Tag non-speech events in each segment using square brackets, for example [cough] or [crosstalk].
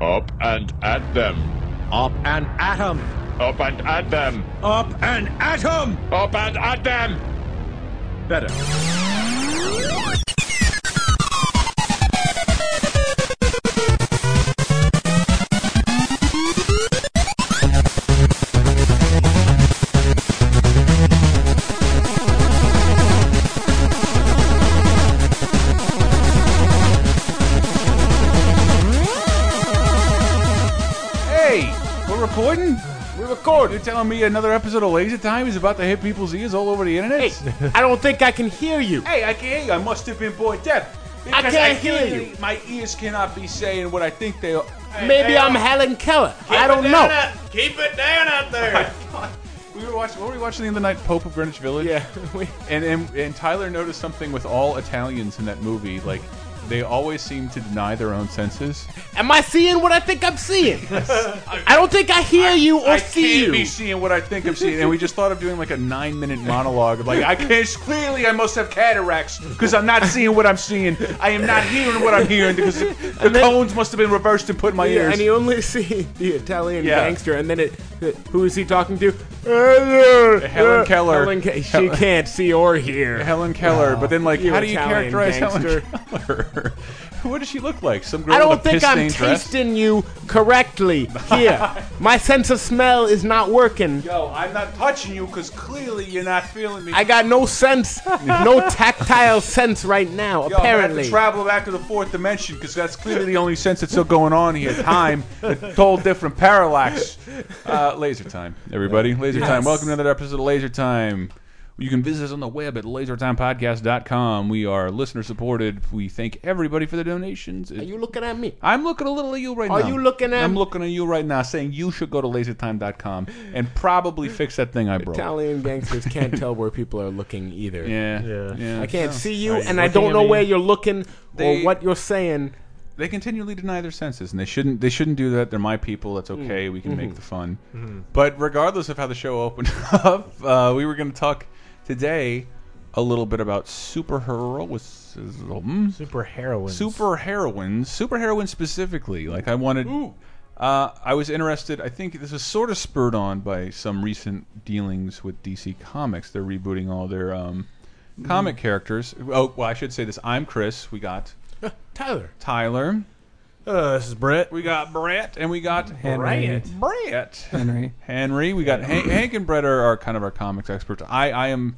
Up and at them. Up and at 'em! Up and at them. Up and at 'em! Up and at them. Better. Hey, we're recording. We're You're recording. telling me another episode of Laser Time is about to hit people's ears all over the internet? Hey, I don't think I can hear you. Hey, I can't hear you. I must have been born deaf. Because can't hear clearly- you. My ears cannot be saying what I think they are. Maybe I'm Helen Keller. I don't know. Keep it down out there! [laughs] We were watching. What were we watching the other night? Pope of Greenwich Village. Yeah, we- [laughs] And, and and Tyler noticed something with all Italians in that movie. Like they always seem to deny their own senses. Am I seeing what I think I'm seeing? I don't think I hear you or I see can't be you. seeing what I think I'm seeing. And we just thought of doing like a nine minute monologue. of Like I can't. Clearly, I must have cataracts because I'm not seeing what I'm seeing. I am not hearing what I'm hearing because the, the then- cones must have been reversed and put in my Yeah, ears. and you only [laughs] see the Italian Yeah. gangster, and then it. Who is he talking to? Helen Keller. Helen Ke- she Hel- can't see or hear. Helen Keller, but then like, you how do you Italian characterize gangster. Helen Keller? [laughs] what does she look like? Some girl I with don't a think I'm piss-stained dress? tasting you correctly [laughs] here. My sense of smell is not working. Yo, I'm not touching you because clearly you're not feeling me. I got no sense, no [laughs] tactile sense right now, Yo, I'm gonna have apparently. to travel back to the fourth dimension because that's clearly the only sense that's still going on here. Time, a whole different parallax. Uh, laser time, everybody. Laser time. Welcome to another episode of Laser Time. You can visit us on the web at lasertimepodcast.com. We are listener supported. We thank everybody for the donations. Are you looking at me? I'm looking a little at you right Are now. you looking at- I'm looking at you right now, saying you should go to lasertime.com and probably fix that thing I broke. Italian gangsters can't tell where people are looking either. Yeah. Yeah. I can't see you, Are you and I looking don't at know me? where you're looking They- or what you're saying. They continually deny their senses, and they shouldn't. They shouldn't do that. They're my people. That's okay. We can make the fun. But regardless of how the show opened [laughs] up, uh, we were going to talk today a little bit about superheroism. Super heroin. super heroines, super heroines specifically. Like I wanted, uh, I was interested. I think this is sort of spurred on by some recent dealings with DC Comics. They're rebooting all their um, comic characters. Oh, well, I should say this. I'm Chris. We got Tyler. Tyler. Uh, this is Brett. We got Brett, and we got Henry. Brett. Henry. [laughs] Henry. We got Hank, Hank and Brett are, are kind of our comics experts. I, I am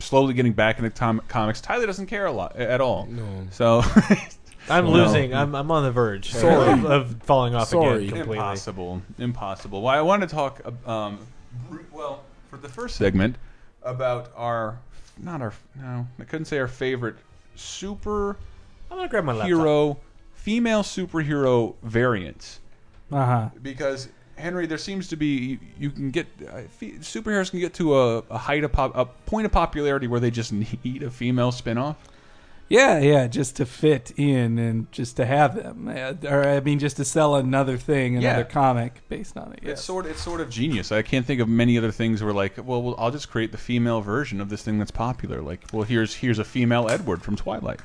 slowly getting back into tom- comics. Tyler doesn't care a lot at all. No. So [laughs] I'm No. losing. I'm, I'm on the verge Sorry. of, of falling off Sorry. again completely. Impossible. Impossible. Well, I want to talk, uh, um, r- well, for the first segment, about our, not our, no, I couldn't say our favorite superhero, I'm gonna grab my laptop. female superhero variants. Uh huh. Because, Henry, there seems to be, you, you can get, uh, fe superheroes can get to a, a height of, pop, a point of popularity where they just [laughs] need a female spinoff. Yeah, yeah, just to fit in and just to have them, Uh, or I mean, just to sell another thing, Yeah. another comic based on it. It's Yes. sort it's sort of genius. I can't think of many other things where like, well, well, I'll just create the female version of this thing that's popular. Like, well, here's here's a female Edward from Twilight.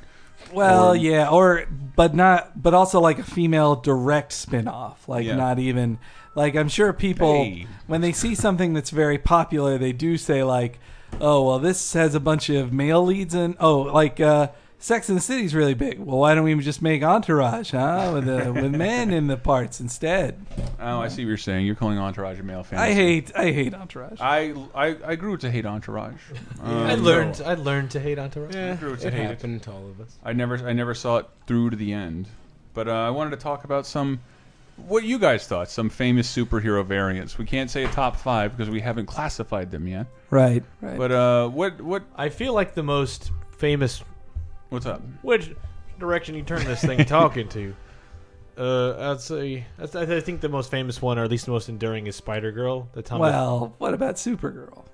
Well, or- yeah, or but not, but also like a female direct spin-off. Like Yeah. not even like I'm sure people Hey. when they see something that's very popular, they do say like, "Oh, well, this has a bunch of male leads and oh, like uh, Sex in the City's really big. Well, why don't we just make Entourage, huh, with the, with men in the parts instead?" Oh, I see what you're saying. You're calling Entourage a male fantasy. Mm-hmm. I hate I hate Entourage. I I, I grew to hate [laughs] Entourage. Um, I learned. I learned to hate Entourage. I grew to It hate it. happened to all of us. I never I never saw it through to the end. But uh, I wanted to talk about some what you guys thought some famous superhero variants. We can't say a top five because we haven't classified them yet. Right, right. But uh, what what I feel like the most famous. what's up? Which direction you turn [laughs] this thing talking to? Uh, I'd say I, th- I think the most famous one, or at least the most enduring, is Spider Girl. The Tom. well, what about Supergirl?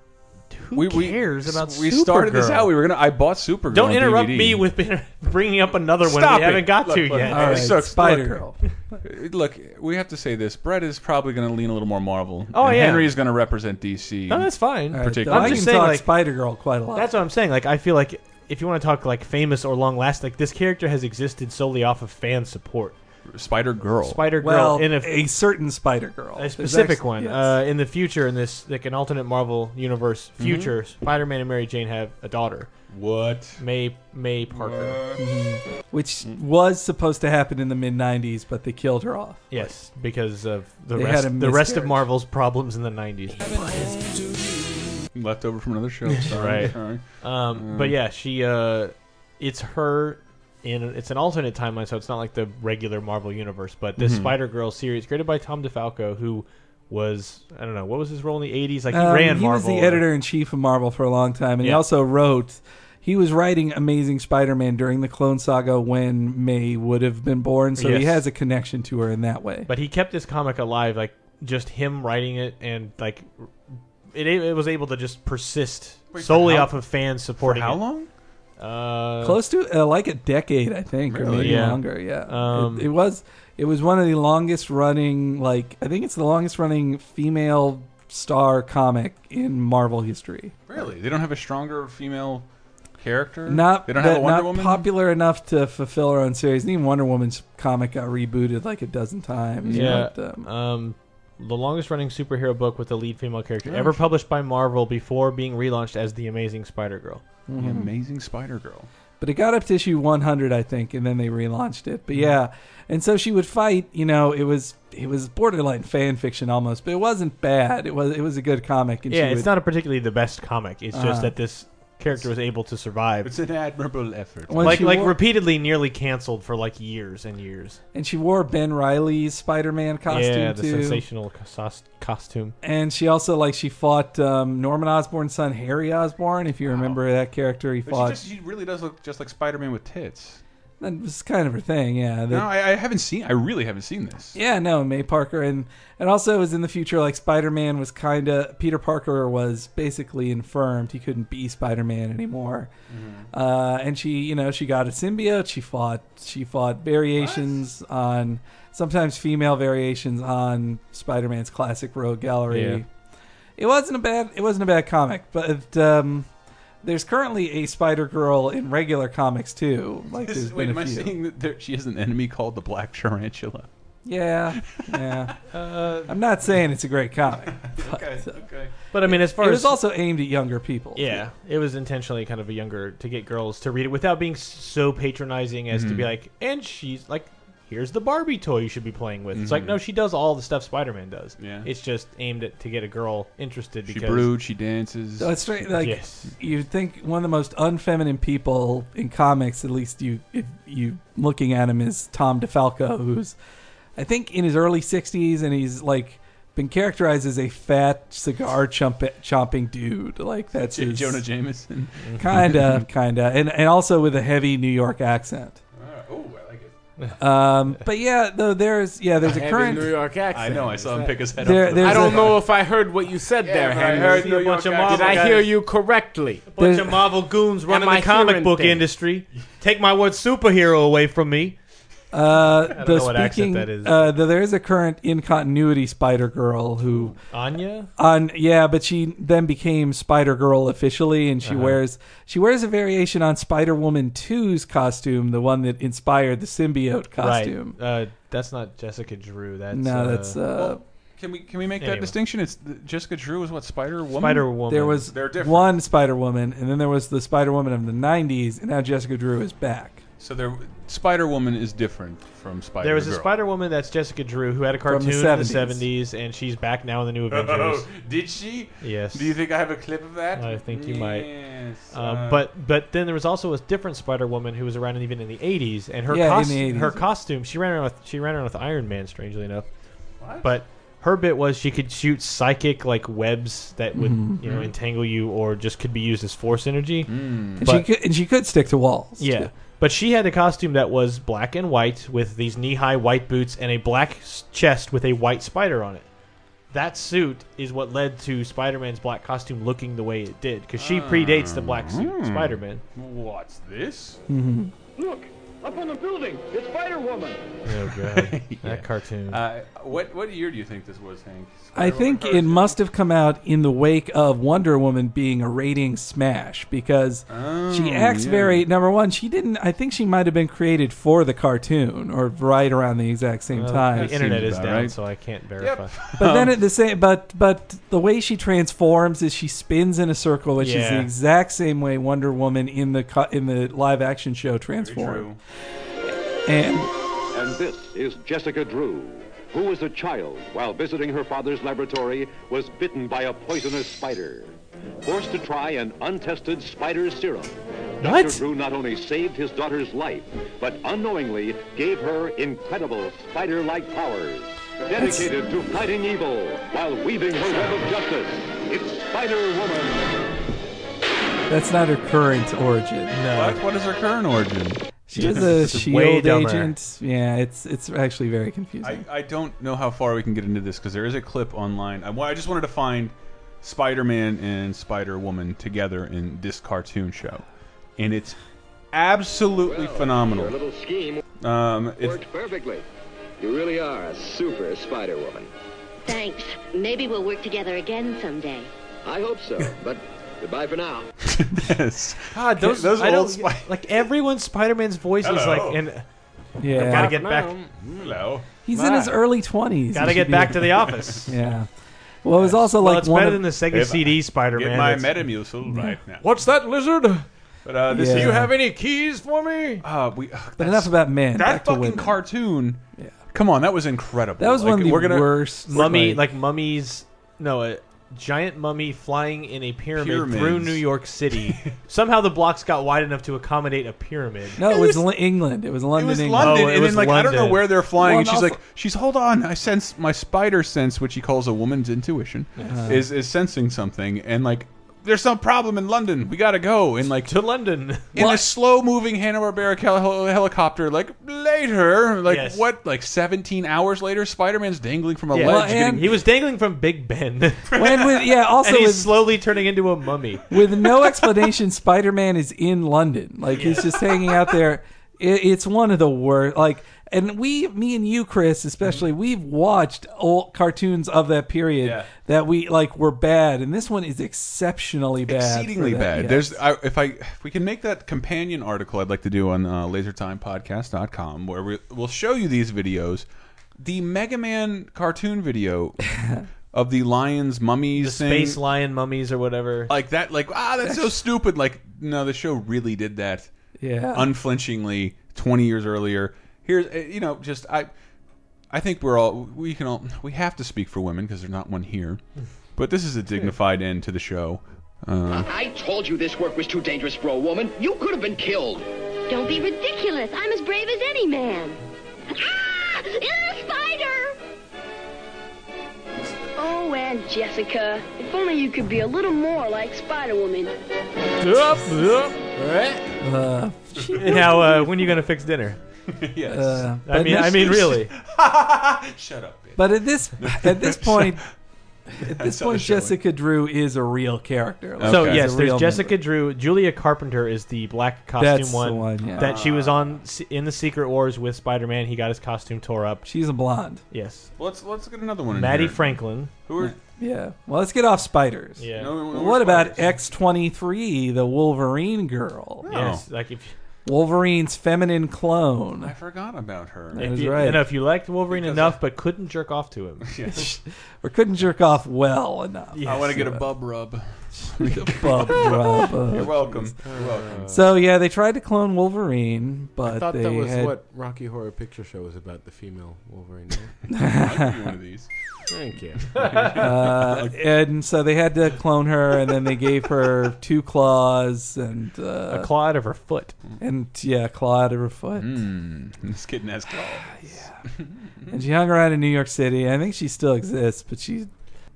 who cares about we started this Supergirl? out. We were gonna. I bought Supergirl. Don't on interrupt DVD. me with [laughs] bringing up another one Stop we haven't it. got Look, to look, yet. look. All right, sucks, look. Spider Girl. Uh, Look, we have to say this. Brett is probably going to lean a little more Marvel. Oh, and yeah. Henry is going to represent DC. No, that's fine. Particular. I I'm can just saying, talk like- Spider Girl quite a lot. That's what I'm saying. Like, I feel like if you want to talk like famous or long lasting, like this character has existed solely off of fan support. Spider Girl. Spider Girl Well, in a, a certain Spider Girl, a specific one. Uh, in the future, in this like an alternate Marvel universe Mm-hmm. future, Spider-Man and Mary Jane have a daughter, what? May May Parker. which mm. was supposed to happen in the mid '90s, but they killed her off. Yes, because of the They rest had a the rest of miscarriage. Marvel's problems in the '90s. Left over from another [laughs] show. Sorry. Right. Sorry. Um, But yeah, she uh, it's her in it's an alternate timeline, so it's not like the regular Marvel universe. But Mm-hmm. this Spider Girl series, created by Tom DeFalco, who was I don't know what was his role in the '80s. Like he Um, ran he Marvel. uh, was the editor in chief of Marvel for a long time, and he Yeah. also wrote. He was writing Amazing Spider-Man during the Clone Saga when May would have been born, so he Yes. has a connection to her in that way. But he kept this comic alive, like just him writing it, and like it, it was able to just persist Wait, for solely how- off of fans For supporting. how it. long? Uh, Close to uh, like a decade, I think, or Really? maybe Yeah. longer. Yeah, Um, it, it was. It was one of the longest running. Like I think it's the longest running female star comic in Marvel history. Really? They don't have a stronger female character. Not They don't have that- a Wonder not Woman. popular enough to fulfill her own series. And even Wonder Woman's comic got rebooted like a dozen times. Yeah. but, um, Um, the longest running superhero book with the lead female character ever published by Marvel before being relaunched as The Amazing Spider Girl. the amazing Spider Girl. but it got up to issue 100 i think and then they relaunched it Mm-hmm. but yeah and so she would fight you know it was it was borderline fan fiction almost but it wasn't bad it was it was a good comic and Yeah, she it's would, not a particularly the best comic. It's Uh-huh. just that this character was able to survive. It's an admirable effort. Once Like she like wore, repeatedly nearly canceled for like years and years. and she wore ben riley's spider-man costume yeah, the too sensational cos- costume. and she also like she fought um, norman osborn's son harry osborn if you remember that character he But she, fought just, she really does look just like Spider Man with tits. that was kind of her thing yeah No, that- I, I haven't seen. I really haven't seen this. Yeah, no, May Parker, and and also it was in the future. Like Spider Man was kind of Peter Parker was basically infirmed; he couldn't be Spider Man anymore. Mm-hmm. Uh, and she, you know, she got a symbiote. She fought. She fought variations on sometimes female variations on Spider Man's classic Rogue Gallery. Yeah. It wasn't a bad. It wasn't a bad comic, but. Um, there's currently a Spider Girl in regular comics too. Like This- there's wait, am been a I few. seeing that there, she has an enemy called the Black Tarantula? Yeah, yeah. I'm not saying it's a great comic. but, uh, Uh, [laughs] Okay. But I mean, as far It as was also aimed at younger people. yeah, it was intentionally kind of a younger to get girls to read it without being so patronizing as to be like, and she's like, here's the Barbie toy you should be playing with. It's like, no, she does all the stuff Spider Man does. Yeah. it's just aimed at to get a girl interested She because brood. She dances. So it's straight like yes, you'd think one of the most unfeminine people in comics, at least you if you looking at him is Tom DeFalco, who's I think in his early sixties and he's like been characterized as a fat cigar chomp- chomping dude. Like that's J- his Jonah Jameson. kinda kinda. And and also with a heavy New York accent. oh, I like it. Um, but yeah, though there's yeah, there's a Heavy current New York accent. I know. I saw him pick his head There- up. there's I don't a- know if I heard what you said there, Henry. heard New York Did I guys. hear you correctly? a bunch There's- of Marvel goons running Am I the comic hearing book things? industry. Take my word superhero away from me. Uh, though know what accent speaking, that is. Uh, though there is a current in continuity Spider Girl who, Anya? on yeah, but she then became Spider Girl officially, and she wears she wears a variation on Spider Woman 2's costume, the one that inspired the symbiote costume. Right. Uh, that's not Jessica Drew. That's No, that's uh, Can we can we make that Anyway. distinction? It's Jessica Drew is what Spider Woman. Spider Woman. there was They're different. one Spider Woman, and then there was the Spider Woman of the '90s, and now Jessica Drew is back. So there, Spider Woman is different from Spider. There was a Spider Woman that's Jessica Drew who had a From cartoon the in the 70s. seventies, and she's back now [laughs] in the New Avengers. Oh, did she? Yes. Do you think I have a clip of that? I think you might. Yes. Um, but but then there was also a different Spider Woman who was around even in the eighties, and her Yeah, in cos- the 80s, her yeah. costume she ran around with she ran around with Iron Man, strangely enough. What? But her bit was she could shoot psychic like webs that would you know entangle you or just could be used as force energy. And But- she could, and she could stick to walls. Yeah. too. But she had a costume that was black and white with these knee high white boots and a black s- chest with a white spider on it. That suit is what led to Spider Man's black costume looking the way it did because she predates the black suit Spider Man. what's this? Look, a people in the building. It's Spider Woman. Oh [laughs] god, that cartoon. Uh, what what year do you think this was, Hank? I think it must have come out in the wake of Wonder Woman being a rating smash because she acts very number one. She didn't. I think she might have been created for the cartoon or right around the exact same Well, time. the internet seems is about down, right. so I can't verify. [laughs] But Oh. then at the same, but but the way she transforms is she spins in a circle, which is the Yeah. exact same way Wonder Woman in the co- in the live action show transformed. True. And And this is Jessica Drew, who as a child, while visiting her father's laboratory, was bitten by a poisonous spider. Forced to try an untested spider serum. What? Dr. Drew not only saved his daughter's life, but unknowingly gave her incredible spider-like powers. Dedicated to fighting evil while weaving her web of justice. It's Spider-Woman. that's not her current origin. No, What, what is her current origin? She was a This is way shield dumber. E agent. Yeah, it's it's actually very confusing. I, I don't know how far we can get into this because there is a clip online. I, wa- I just wanted to find Spider Man and Spider Woman together in this cartoon show, and it's absolutely phenomenal. little scheme Um, it's, worked perfectly. You really are a super Spider Woman. Thanks. Maybe we'll work together again someday. I hope so, but goodbye for now. yes. God, [laughs] those, Those I old Oh. don't- Spider- like everyone's Spider-Man's voice is like, Hello. and yeah, gotta get back, Hello. he's in his Bye. early twenties. gotta get [laughs] back to the office. [laughs] yeah. Well, it was also Well, like it's one better of than the Sega If I- CD Spider-Man. Get my that's- Metamucil right now. What's that lizard? But uh, this Yeah. is, Do you have any keys for me? uh, we, ugh, But that's- E enough about men. that back to fucking women. cartoon. Come on, that was incredible. That was Like, one of the we're gonna, worst. Mummy, like, mummies. No, a giant mummy flying in a pyramid Pyramids. through New [laughs] York City. Somehow the blocks got wide enough to accommodate a pyramid. no, it was Li- England. It was It London, was England. London, Oh, it and was then like I don't know London. where they're flying, and Well, she's and like, she's hold on, I sense my spider sense, which he calls a woman's intuition, is is sensing something, and like there's some problem in London, we gotta go, and like To London. in a slow moving Hanna Barbera hel helicopter, like later, like Yes. what, like 17 hours later, Spider Man's dangling from a Yeah. ledge, Well, and- getting He was dangling from Big Ben. [laughs] and When with, yeah, also he's with, slowly turning into a [laughs] mummy. with no explanation, Spider Man is in London. Like he's just hanging out there. It, it's one of the worst. Like, and we, me and you, Chris, especially, Mm-hmm. we've watched old cartoons of that period Yeah. that we like were bad, and this one is exceptionally bad. for exceedingly that, bad. yes. There's I, if I if we can make that companion article I'd like to do on uh, lasertimepodcast.com where we, we'll show you these videos. The Mega Man cartoon [laughs] video of the lions mummies The thing, space lion mummies or whatever. Uh, like that like ah that's so stupid like no the show really did that yeah. unflinchingly 20 years earlier. Here's uh, you know just I I think we're all we can all we have to speak for women because there's not one here. [laughs] But this is a dignified end to the show. I told you this work was too dangerous for a woman. You could have been killed. Don't be ridiculous. I'm as brave as any man. Ah! It's a spider! Oh, Aunt Jessica, if only you could be a little more like Spider Woman. Uh, now, uh, when are you going to fix dinner? yes. uh, I but mean, no- I mean, really. [laughs] Shut up. bitch. But at this [laughs] at this point, That's at this how the point, show is. Jessica Drew is a real character. Like, So Okay. yes, a there's real Jessica Drew. Julia Carpenter is the black costume That's the one, one, yeah. that she was on s- in the Secret Wars with Spider-Man. He got his costume tore up. she's a blonde. Yes, Let's let's get another one. In Maddie here. Franklin. Who are Yeah. Well, let's get off spiders. Yeah. no, no, no, What about spiders. X twenty three, the Wolverine girl, Yes, like if, Wolverine's feminine I clone? forgot about her. Yeah. if was you, right. you know, if you liked Wolverine Because enough but couldn't jerk off to him. Or couldn't jerk off well enough. Yes. I want to get a bub [laughs] rub. [laughs] Bub, rub, uh. You're welcome. You're welcome. So yeah, they tried to clone Wolverine, but I thought they that was had what Rocky Horror Picture Show was about, the female Wolverine. no? I'll give you one of these. Thank you. uh, and so they had to clone her, and then they [laughs] gave her two claws and a uh, claw out of her foot. and yeah, a claw out of her foot. Hmm. Ah, This kid has claws. And she hung around in New York City. I think she still exists, but she's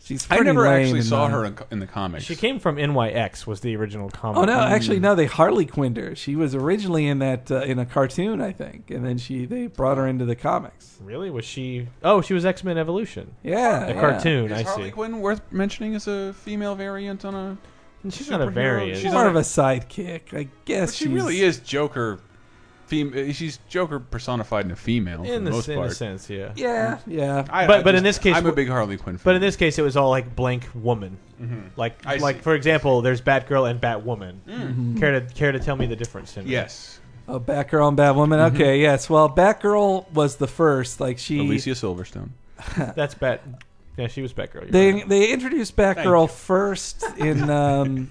she's. I pretty never lame actually in saw the- her in, co- in the comics. She came from NYX, was the original comic. Oh no, actually Mm. no. They Harley Quinned her. She was originally in that uh, in a cartoon, I think, and then she they brought her into the comics. really? Was she? Oh, she was X Men Evolution, Yeah, the yeah. cartoon. Is I Harley see. Quinn worth mentioning as a female variant on a? She's not a superhero? variant. She's She's more a- of a sidekick, I guess. But she she's- really is Joker fem- eh, she's Joker personified in a female for in the the, most in part. a sense, yeah. Mm. Yeah, yeah. I- But- I but in this case- I'm a big Harley Quinn. Fan. But in this case, it was all like blank woman. Like Mm-hmm. I like see. Mm. for example, there's Batgirl and Batwoman. Care to care to tell me the difference? In yes, Oh, Batgirl and Batwoman. Mm-hmm. Okay, yes. Well, Batgirl was the first. Like she, Alicia Silverstone. that's Bat. Yeah, she was Batgirl. you're they right. they introduced Batgirl first [laughs] in, um,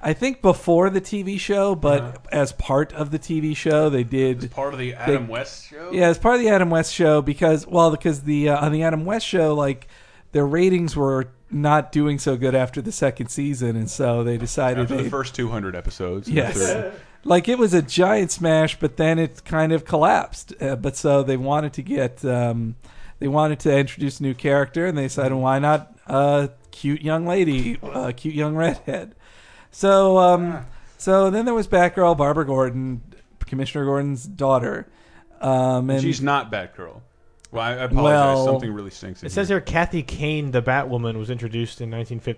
I think, before the TV show, but Uh-huh. as part of the TV show, they did. Part of the Adam West show. Yeah, as part of the Adam West show because well, because the uh, on the Adam West show, like their ratings were not doing so good after the second season, and so they decided After they the first 200 episodes. and the third- Yes. [laughs] like it was a giant smash, but then it kind of collapsed. Uh, but so they wanted to get, um, they wanted to introduce a new character, and they decided why not a cute young lady, a cute young redhead. So, um, so then there was Batgirl, Barbara Gordon, Commissioner Gordon's daughter. Um, and She's not Batgirl. Well, I, I apologize. Well- Something really stinks. In It says here. here Kathy Kane, the Batwoman, was introduced in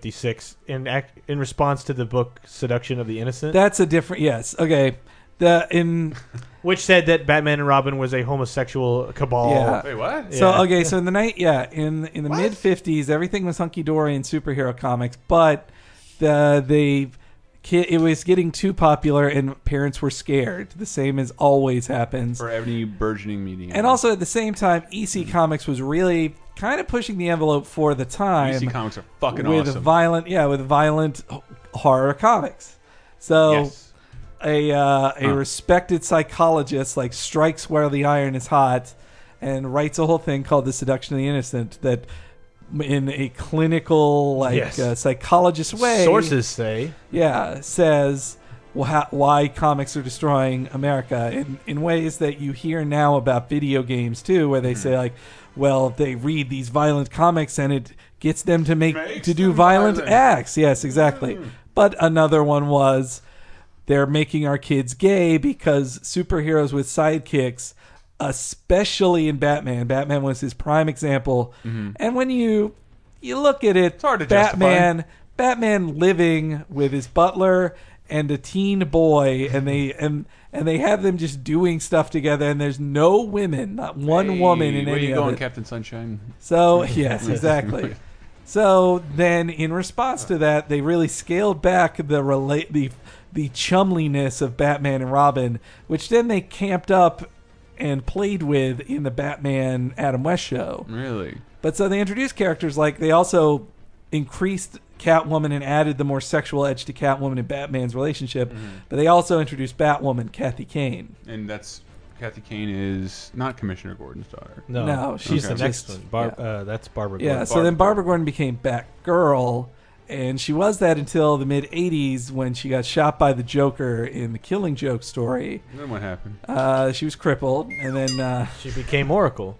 1956 in ac- in response to the book Seduction of the Innocent, that's a different. Yes, okay. The in which said that Batman and Robin was a homosexual cabal. Yeah. Wait, what? So Yeah. okay, so in the night, yeah, in in the mid fifties, everything was hunky dory in superhero comics, but the the ki- it was getting too popular, and parents were scared. The same as always happens. For every burgeoning meeting. And also at the same time, Mm-hmm. EC Comics was really kind of pushing the envelope for the time DC E comics are fucking with awesome. violent, yeah, with violent h- horror comics. So yes. a uh, a Huh. respected psychologist like strikes where the iron is hot and writes a whole thing called the seduction of the innocent that in a clinical like Yes. uh, psychologist way Sources say yeah says wha- why comics are destroying america in, in ways that you hear now about video games too where they Mm-hmm. say like well they read these violent comics and it gets them to make Makes to do them violent, violent. Mm-hmm. acts yes exactly but another one was they're making our kids gay because superheroes with sidekicks especially in batman batman was his prime example Mm-hmm. and when you you look at it it's hard to justify. batman batman living with his butler and a teen boy and they and and they have them just doing stuff together and there's no women not one Hey, woman in where any you of going, it. Captain Sunshine? So [laughs] yes, exactly. So then, in response to that, they really scaled back the relate the the chumliness of Batman and Robin, which then they camped up and played with in the Batman Adam West show. Really? But so they introduced characters like they also increased Catwoman and added the more sexual edge to Catwoman and Batman's relationship. But they also introduced Batwoman, Kathy Kane. And that's Kathy Kane is not Commissioner Gordon's daughter. no, No, she's the next just- one. Bar- yeah. uh, that's Barbara. Yeah, Gordon. so then Barbara Gordon became Batgirl, and she was that until the mid 80s when she got shot by the Joker in the Killing Joke story. Then what happened? Uh, she was crippled, and then uh, she became Oracle.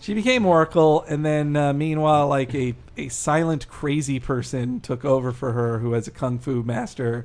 she became Oracle, and then uh, meanwhile, like a, a silent, crazy person took over for her who, as a kung fu master,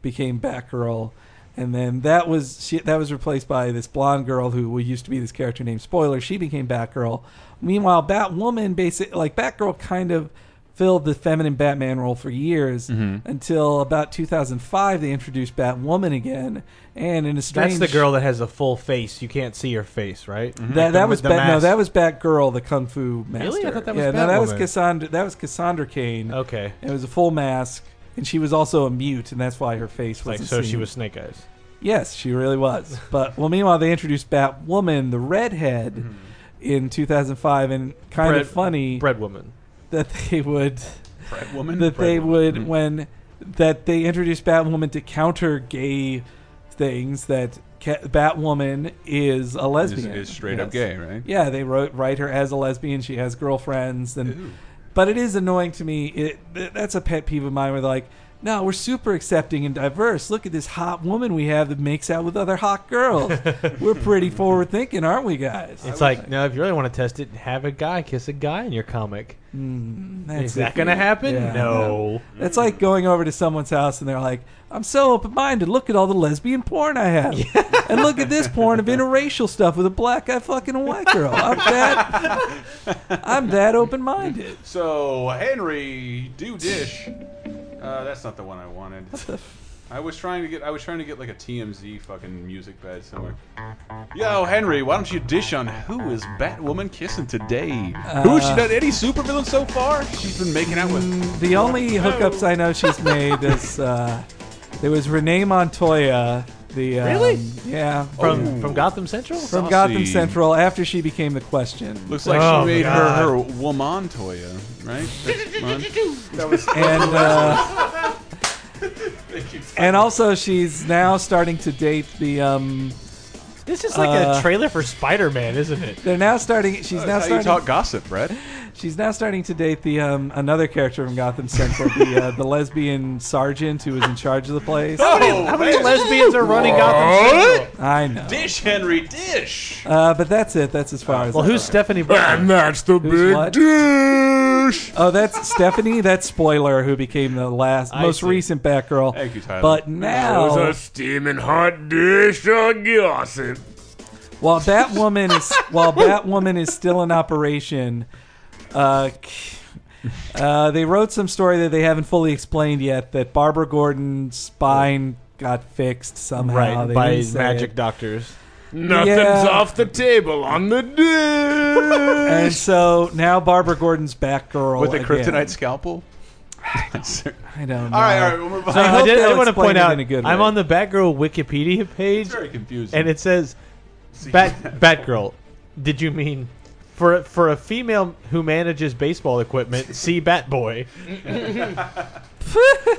became Batgirl. And then that was she, that was replaced by this blonde girl who used to be this character named Spoiler. She became Batgirl. Meanwhile, Batwoman, basic like Batgirl, kind of filled the feminine Batman role for years Mm-hmm. until about 2005. They introduced Batwoman again, and in a strange That's the girl that has the full face. You can't see her face, right? that, that The- was Mm-hmm. the Bat, no, mask. that was Batgirl, the Kung Fu master. Really? I thought that was yeah, no, that was Batwoman. Cassandra. That was Cassandra Kane. Okay. It was a full mask, and she was also a mute, and that's why her face was Like so, she was Snake Eyes. Yes, she [laughs] really was. But well, meanwhile, they introduced Batwoman, the redhead, in 2005, and kind Mm-hmm. Bread- of funny Bread woman. that they would Fred woman. that Fred they woman. would Mm-hmm. when that they introduced Batwoman to counter gay things that ca- Batwoman is a is, lesbian is straight up Yes. gay, right? Yeah, they wrote write her as a lesbian. She has girlfriends, and but it is annoying to me. It th- that's a pet peeve of mine. Where they're like, no, we're super accepting and diverse. Look at this hot woman we have that makes out with other hot girls. we're pretty forward thinking, aren't we, guys? It's like no, if you really want to test it, have a guy kiss a guy in your comic. That's Is that iffy. gonna happen? Yeah. No. That's like going over to someone's house and they're like, I'm so open minded. Look at all the lesbian porn I [laughs] have. and look at this porn of interracial stuff with a black guy fucking a white girl. I'm that, I'm that open minded. [laughs] So Henry, do dish. Uh, that's not the one I wanted. I was trying to get I was trying to get like a TMZ fucking music bed somewhere. Yo, Henry, why don't you dish on who is Batwoman kissing today? Uh, who has she done any supervillain so far? She's been making out with. The only hookups I know she's made is uh, there was Renee Montoya, the um, Really? yeah from from Gotham Central. from Oh, Saucy. Gotham Central after she became the question, [laughs] Looks like Oh, she made God. her her woman Toya, right? That's Mon- and uh, and also she's now starting to date the um, This is like Uh, a trailer for Spider Man, isn't it? they're now starting she's now That's how you starting talk gossip, Brad. She's now starting to date the um, another character from Gotham Central, the uh, the lesbian sergeant who was in charge of the [laughs] place. Oh! How many lesbians are running Gotham Central? I know. Dish, Henry, dish. Uh, but that's it. That's as far as. Well, I who's Stephanie Brown? that's the big dish. Oh, that's Stephanie. That's spoiler who became the last, most see. recent Batgirl. Thank you, Tyler. But now, steaming hot dish of gossip. while Batwoman is while Batwoman is still in operation, uh, k- uh, they wrote some story that they haven't fully explained yet that Barbara Gordon's spine got fixed somehow. Right They by didn't say magic it. doctors. Nothing's Yeah. off the table on the dish. And so now Barbara Gordon's Batgirl With a [laughs] again. kryptonite scalpel. That's- I don't know. all right, all right, we'll move on. I I, hope did, I they'll did want to explain point it out. in a good I'm way. on the Batgirl Wikipedia page, It's very confusing. and it says [laughs] Bat Batgirl. Did you mean for for a female who manages baseball [laughs] equipment? See Batboy. All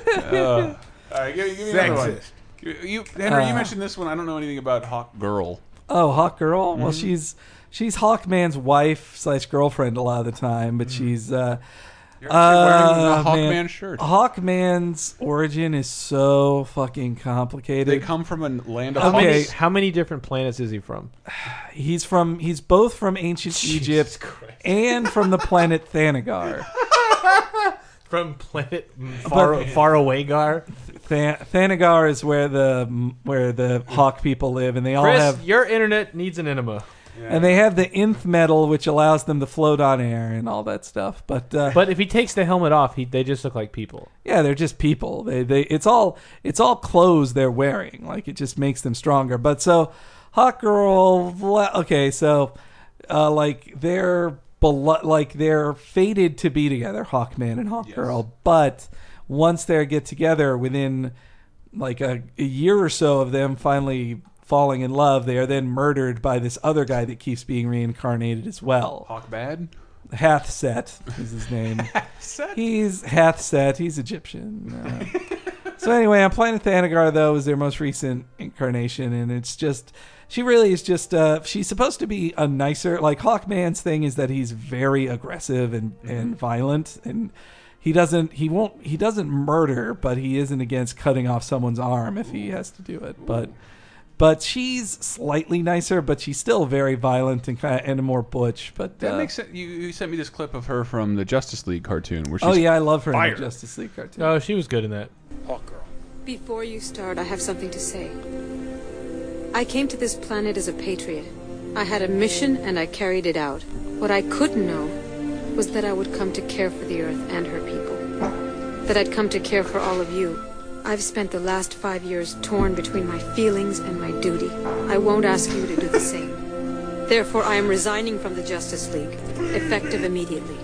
right, give, give me another one. Sexist. You, you- Henry, you Uh, mentioned this one. I don't know anything about Hawk Girl. Oh, Hawk Girl. Well, she's she's Hawkman's wife slash girlfriend a lot of the time, but she's uh, You're actually wearing uh, a Hawkman man. shirt. Hawkman's origin is so fucking complicated. They come from a land of How Okay. many- hawks. How many different planets is he from? he's from he's both from ancient Egypt and from the [laughs] planet Thanagar. From planet [laughs] far far away Gar. Than- Thanagar is where the where the hawk people live, and they all Chris, have your internet needs an enema. and they have the nth metal, which allows them to float on air and all that stuff. But uh, But if he takes the helmet off, he, they just look like people. Yeah, they're just people. They they it's all it's all clothes they're wearing. Like it just makes them stronger. But so Hawk Girl le- okay, so uh like they're belo- like they're fated to be together, Hawkman and Hawk Girl, but once they get together within like a, a year or so of them finally falling in love, they are then murdered by this other guy that keeps being reincarnated as well. Hawk bad. Uh, Hathset is [laughs] his name. He's Hathset. He's Egyptian. Uh, so anyway, on Planet Thanagar though is their most recent incarnation, and it's just she really is just uh, she's supposed to be a nicer like Hawkman's thing is that he's very aggressive and Mm-hmm. and violent and. He doesn't. He won't. He doesn't murder, but he isn't against cutting off someone's arm if he has to do it. But but she's slightly nicer, but she's still very violent and kind of, and more butch. But That uh, makes sense. You, you sent me this clip of her from the Justice League cartoon where she's. Oh yeah, I love her in Fire. the Justice League cartoon. Oh, she was good in that. Before you start, I have something to say. I came to this planet as a patriot. I had a mission and I carried it out. What I couldn't know was that I would come to care for the Earth and her people. That I'd come to care for all of you. I've spent the last five years torn between my feelings and my duty. I won't ask you to do the same. Therefore, I am resigning from the Justice League, effective immediately.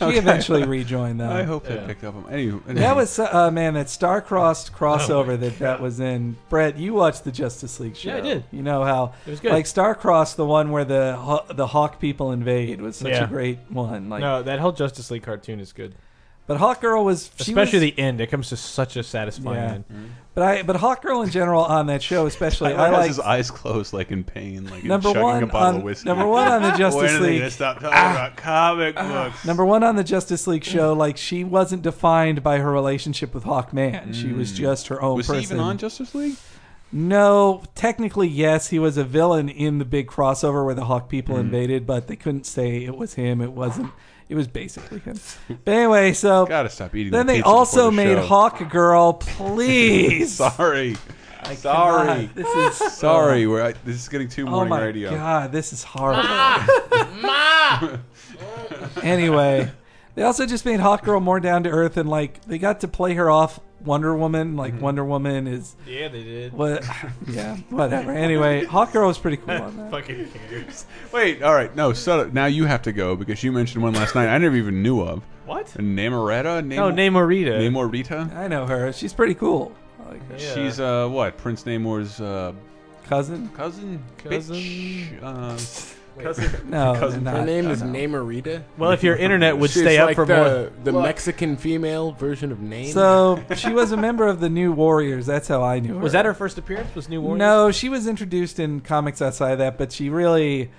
she eventually [laughs] rejoined though. I hope they picked up on. Anywho, That was uh, man that Oh, star-crossed crossover that that was in. Brett, you watched the Justice League show. Yeah, I did. You know how it was good. Like star-crossed, the one where the Haw- the Hawk people invade was such Yeah. a great one. Like, No, that whole Justice League cartoon is good, but Hawk Girl was she especially was, the end. It comes to such a satisfying Yeah. end. But I but Hawk Girl in general on that show, especially [laughs] I, I like his like eyes closed, like in pain, like number chugging one a bottle on of [laughs] whiskey. number [laughs] one on the When Justice are they League. gonna stop talking Ah. about comic books? Number one on the Justice League show, like she wasn't defined by her relationship with Hawkman. She was Mm. just her own was person. he even on Justice League? No, technically yes, he was a villain in the big crossover where the Hawk people Mm-hmm. invaded, but they couldn't say it was him. It wasn't. It was basically him. But anyway, [laughs] so Gotta stop eating. then the they pizza before also the made show. Hawk Girl. Please, [laughs] Sorry, God, sorry, this is sorry. We're, I, this is getting too [laughs] Oh morning my radio. god, this is horrible. [laughs] anyway, they also just made Hawk Girl more down to earth and like they got to play her off Wonder Woman. Mm-hmm. Like Wonder Woman is Yeah, they did. what? [laughs] yeah, whatever. Anyway, Hawkgirl was pretty cool on that. Fucking cares. Wait, all right, no, so now you have to go because you mentioned one last night I never even knew of. What? Namoretta? Nam- No, Namorita. Namorita? I know her. She's pretty cool. I like her. Yeah. She's uh what Prince Namor's uh, Cousin? cousin, Cousin? bitch? Uh, No, Cousin not. Her name is Namorita. well, if your internet would She's stay up like for more. the, the Mexican female version of Name. So she was a member of the New Warriors. That's how I knew her. Was that her first appearance? Was New Warriors? No, she was introduced in comics outside of that, but she really,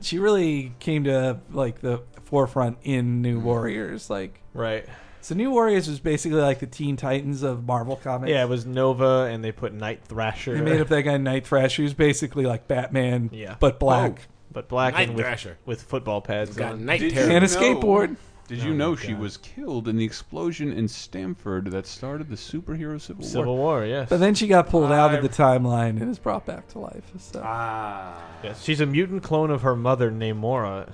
she really came to like the forefront in Mm-hmm. New Warriors. Like, Right. so New Warriors was basically like the Teen Titans of Marvel comics. Yeah, it was Nova, and they put Night Thrasher. they made up that guy Night Thrasher, who's basically like Batman, Yeah. Oh. but black But black Night and with, Thrasher. with football pads. got on. night Did terror. you and a No. skateboard. Did you know she was killed in the explosion in Stamford that started the superhero Civil, Civil War? War, yes. But then she got pulled out I- of the timeline and is brought back to life. So Ah, Yes, she's a mutant clone of her mother, Namora.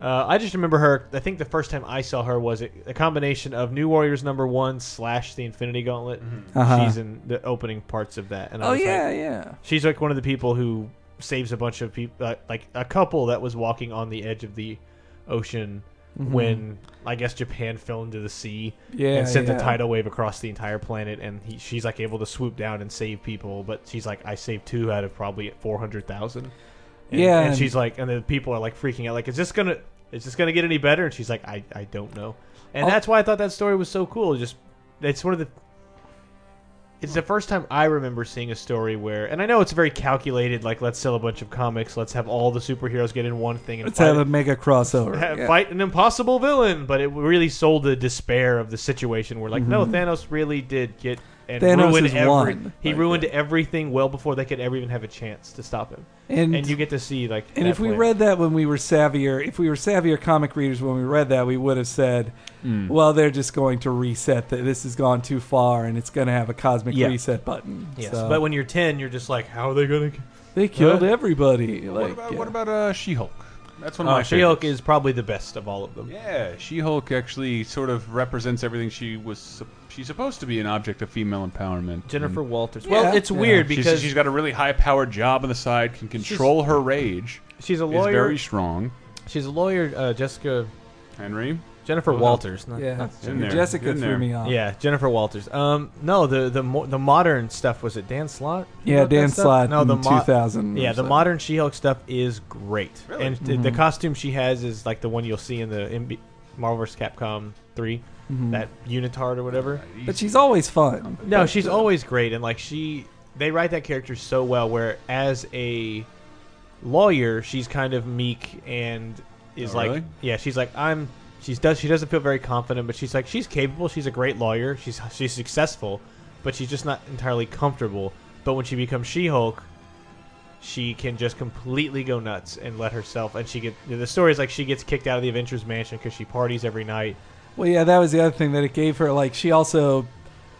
Uh, I just remember her. I think the first time I saw her was a, a combination of New Warriors number one slash the Infinity Gauntlet. Uh-huh. She's in the opening parts of that, and I oh was yeah, like, yeah. she's like one of the people who saves a bunch of people, uh, like a couple that was walking on the edge of the ocean when I guess Japan fell into the sea Mm-hmm. Yeah, and sent yeah. the tidal wave across the entire planet, and he, she's like able to swoop down and save people, but she's like, I saved two out of probably four hundred thousand. And, Yeah, and and- she's like, and the people are like freaking out, like, is this gonna, is this gonna get any better? And she's like, I, I don't know, and Oh. that's why I thought that story was so cool. Just, it's one of the, it's the first time I remember seeing a story where, and I know it's very calculated, like, let's sell a bunch of comics, let's have all the superheroes get in one thing and Let's fight, have a mega [laughs] crossover. ha- Yeah. fight an impossible villain, but it really sold the despair of the situation. Where like, no, Thanos really did get and Mm-hmm. Thanos ruined is every- one. He ruined everything well before they could ever even have a chance to stop him. And- And, you get to see like. And that if we plan. read that when we were savvier, if we were savvier comic readers when we read that, we would have said, Hmm. "Well, they're just going to reset that. This has gone too far, and it's going to have a cosmic Yeah. reset button." yes, So- but when you're ten, you're just like, how are they gonna? they killed Huh? everybody. Like, What about, yeah. what about uh, She-Hulk? That's one of Uh, my She-Hulk favorites. is probably the best of all of them. Yeah, She-Hulk actually sort of represents everything she was. sup- She's supposed to be an object of female empowerment. Jennifer And Walters. Well, Yeah. it's Yeah. weird she's- because she's got a really high-powered job on the side, can control her rage. she's a Is lawyer. very strong. She's a lawyer. Uh, Jessica Henry, [laughs] Jennifer Walters. Not, Yeah, in there, Jessica in threw there. me off. Yeah, Jennifer Walters. Um, no, the the mo- the modern stuff was it Dan Slott? Who Yeah, wrote that Dan stuff? Slott in mo- 2000 or Yeah, the something. modern She-Hulk stuff is great, and th- the costume she has is like the one you'll see in the MB- Marvel vs. Capcom 3 that unitard or whatever. but she's always fun. No, she's always great, and like she, they write that character so well. Where as a lawyer, she's kind of meek and is Oh, like, really? yeah, she's like, I'm. She's does she doesn't feel very confident, but she's like, she's capable. She's a great lawyer. She's she's successful, but she's just not entirely comfortable. But when she becomes She-Hulk, she can just completely go nuts and let herself. And she get the story is like she gets kicked out of the Avengers Mansion because she parties every night. Well, yeah, that was the other thing that it gave her. Like, she also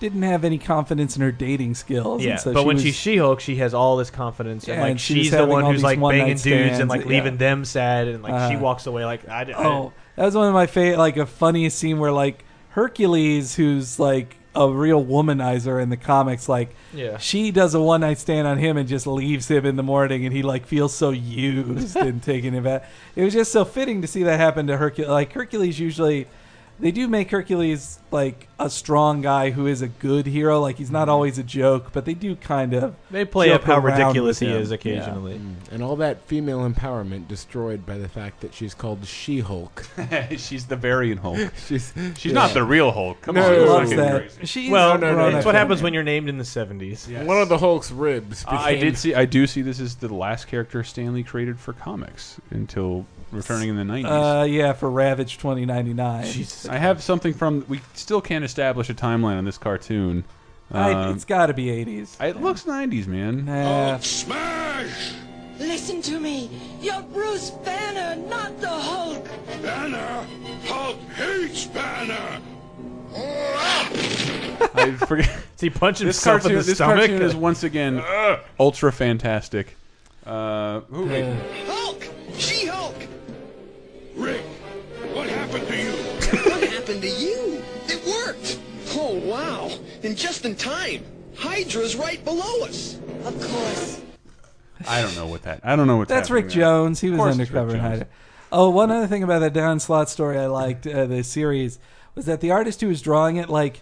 didn't have any confidence in her dating [laughs] skills. Yeah, and so but when was, she's She Hulk, she has all this confidence, and Yeah, like and she's she's the having one all who's these like one-night banging dudes and stands, like yeah. leaving them sad, and like she Uh, walks away like I. d- I Oh, that was one of my favorite, like a funniest scene where like Hercules, who's like a real womanizer in the comics, like Yeah. she does a one night stand on him and just leaves him in the morning, and he like feels so [laughs] used and taken aback. It was just so fitting to see that happen to Hercules. Like Hercules usually. They do make Hercules like a strong guy who is a good hero. Like he's not always a joke, but they do kind of Mm-hmm. they play up joke how around ridiculous he with him. is Yeah. occasionally. Mm. And all that female empowerment destroyed by the fact that she's called [laughs] She Hulk. she's the variant Hulk. she's She's not the real Hulk. Come No, on, she you're Loves fucking that. crazy. She's Well, a no, no, grown-up it's what woman. happens when you're named in the '70s. Yes. one of the Hulk's ribs. Became, I did see. I do see. This is the last character Stanley created for comics until returning in the nineties. Uh, yeah, for Ravage 2099. I have something from. We still can't establish a timeline on this cartoon. I, Um, it's got to be 80s. it looks nineties, [laughs] man. Nah. Smash! Listen to me. You're Bruce Banner, not the Hulk. Banner! Hulk hates Banner! I forget. Does he punch this himself cartoon. in the This stomach? cartoon is once again ultra fantastic. Uh, who- wait, Hulk! She Hulk! Rick, [laughs] what happened to you? What happened to you? It worked! Oh, wow. just in time. Hydra's right below us. Of course. I don't know what that. I don't know what That's Rick Jones. He was undercover in Hyder. Oh, one other thing about that Don Slot story I liked uh, the series was that the artist who was drawing it, like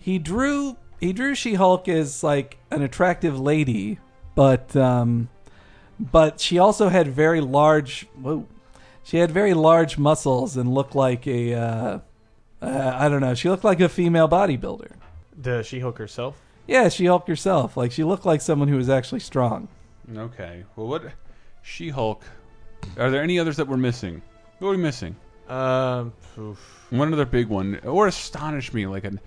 he drew he drew She Hulk as like an attractive lady, but um, but she also had very large. Whoa, she had very large muscles and looked like a uh, uh, I don't know. She looked like a female bodybuilder. [laughs] The She Hulk herself. Yeah, She Hulk herself. Like she looked like someone who was actually strong. Okay. Well, what? She Hulk. Are there any others that we're missing? What are we missing? Um, One other big one, or astonish me like an.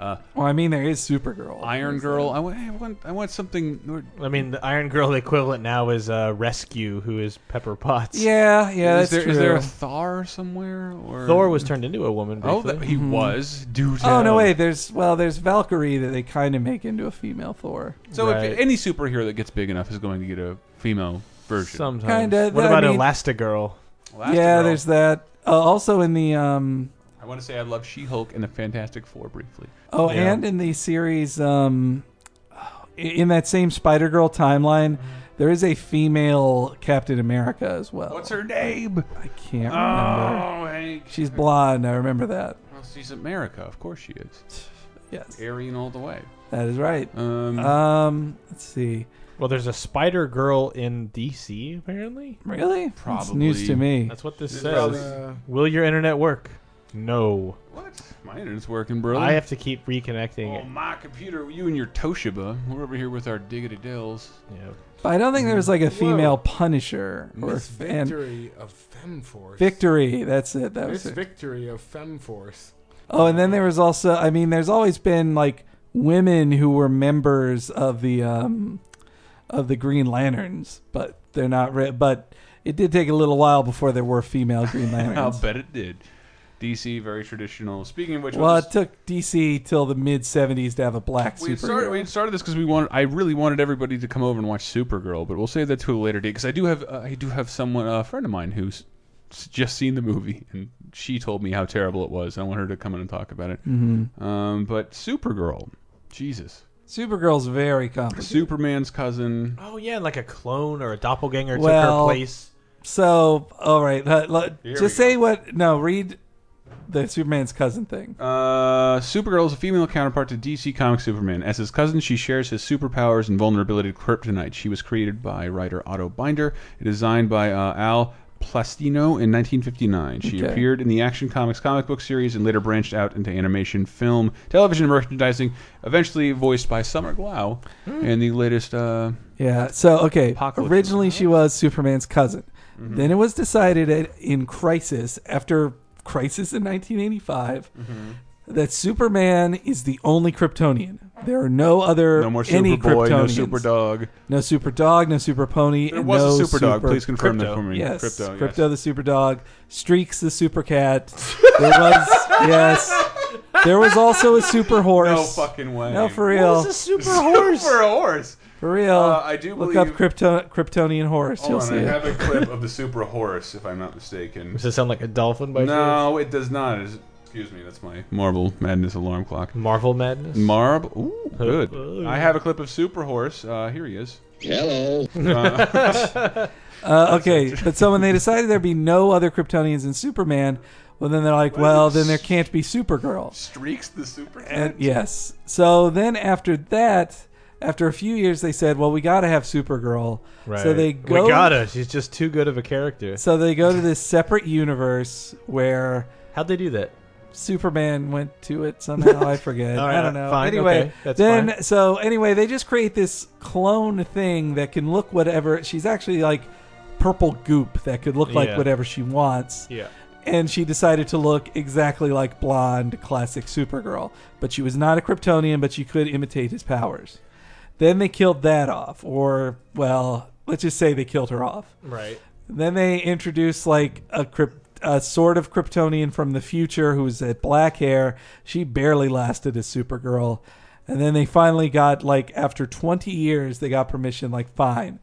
Uh, Well, I mean, there is Supergirl. Iron Girl. I want, I want. I want something. I mean, the Iron Girl [laughs] equivalent now is uh, Rescue, who is Pepper Potts. Yeah, yeah, Is that's there is true. there a Thor somewhere? Or Thor was turned into a woman. Oh, briefly. that, he was. Dude. Mm-hmm. Oh no! Wait, there's well, there's Valkyrie that they kind of make into a female Thor. So Right. if any superhero that gets big enough is going to get a female version. Sometimes. Kinda, What I about mean- Elastigirl? Elastigirl. yeah, there's that. Uh, also in the um I want to say I love She-Hulk and the Fantastic Four briefly. oh, Yeah. and in the series um i- in that same Spider Girl timeline, there is a female Captain America as well. Mm-hmm. What's her name? I can't remember. Oh, Hank. She's blonde. I remember that. Well, she's America. Of course she is. Yes, Aryan all the way. that is right. Um, Um, let's see. Well, there's a Spider Girl in DC apparently. Really? That's Probably. news to me. That's what this says. probably- Will your internet work? No. what? My internet's working, bro. I have to keep reconnecting. Um, Oh, my computer. You and your Toshiba. We're over here with our diggity dills. Yeah. But I don't think there was like a female Punisher or Miss fan- Victory of Femforce. Victory. That's it. That Miss was it. Victory of Femforce. Oh, and then there was also. I mean, there's always been like women who were members of the um of the Green Lanterns, but they're not. Re- but it did take a little while before there were [laughs] female Green I'll Lanterns. bet it did. DC, very traditional. Speaking of which, well, we'll it took DC till the mid '70s to have a black We had started, we superhero. had started this because we wanted. I really wanted everybody to come over and watch Supergirl, but we'll save that to a later date because I do have uh, I do have someone a friend of mine who's s- just seen the movie and she told me how terrible it was. I want her to come in and talk about it. Um, but Supergirl, Jesus, Supergirl's very complicated. Superman's cousin. Oh yeah, like a clone or a doppelganger took her Well- place. So, all right, let- let- Here we just say what. No, read the Superman's cousin thing. Uh, Supergirl is a female counterpart to DC Comics Superman. As his cousin, she shares his superpowers and vulnerability to kryptonite. She was created by writer Otto Binder and designed by uh, Al Plastino in 1959. She Okay. appeared in the Action Comics comic book series and later branched out into animation, film, television, and merchandising, eventually voiced by Summer Glau Hmm. in the latest. Uh, Yeah. So okay, Apocalypse. originally she was Superman's cousin. Mm-hmm. Then it was decided at, in Crisis after Crisis in 1985 Mm-hmm. that Superman is the only Kryptonian. There are no other no more any Superboy, no Kryptonians. Superdog. no super dog, no super pony. There and was no a Superdog. Super- Please confirm that Crypto. for me. Yes, Crypto. yes. the super dog, Streaks the super cat. There was [laughs] yes, there was also a super horse. No fucking way. [laughs] No, for real, super horse. For a horse. for real. Uh, I do look believe- up Krypto- Kryptonian horse. You'll Hold on, see I it. have a clip of the Supra horse, if I'm not mistaken. Does it sound like a dolphin by chance? No, it does not. It's- excuse me, that's my Marble Madness alarm clock. Marvel madness. Mm. Marb, ooh, good. I have a clip of Super Horse. Uh, here he is. Hello. Uh, okay, but so when they decided there'd be no other Kryptonians in Superman, well, then they're like, well, then there can't be Supergirl. Streaks the Super. And yes, so then after that, after a few years, they said, well, we got to have Supergirl. Right. So they go. We gotta. She's just too good of a character. So they go to this separate universe where How'd they do that? Superman went to it [laughs] somehow. I forget. All right, I don't know. fine, anyway, okay, that's then fine. so anyway, they just create this clone thing that can look whatever. She's actually like purple goop that could look like Yeah. whatever she wants. Yeah. and she decided to look exactly like blonde classic Supergirl. But she was not a Kryptonian, but she could imitate his powers. Then they killed that off, or well, let's just say they killed her off. Right. Then they introduced like a Kryp- a sort of Kryptonian from the future who's at black hair. She barely lasted as Supergirl. And then they finally got like after 20 years they got permission like fine.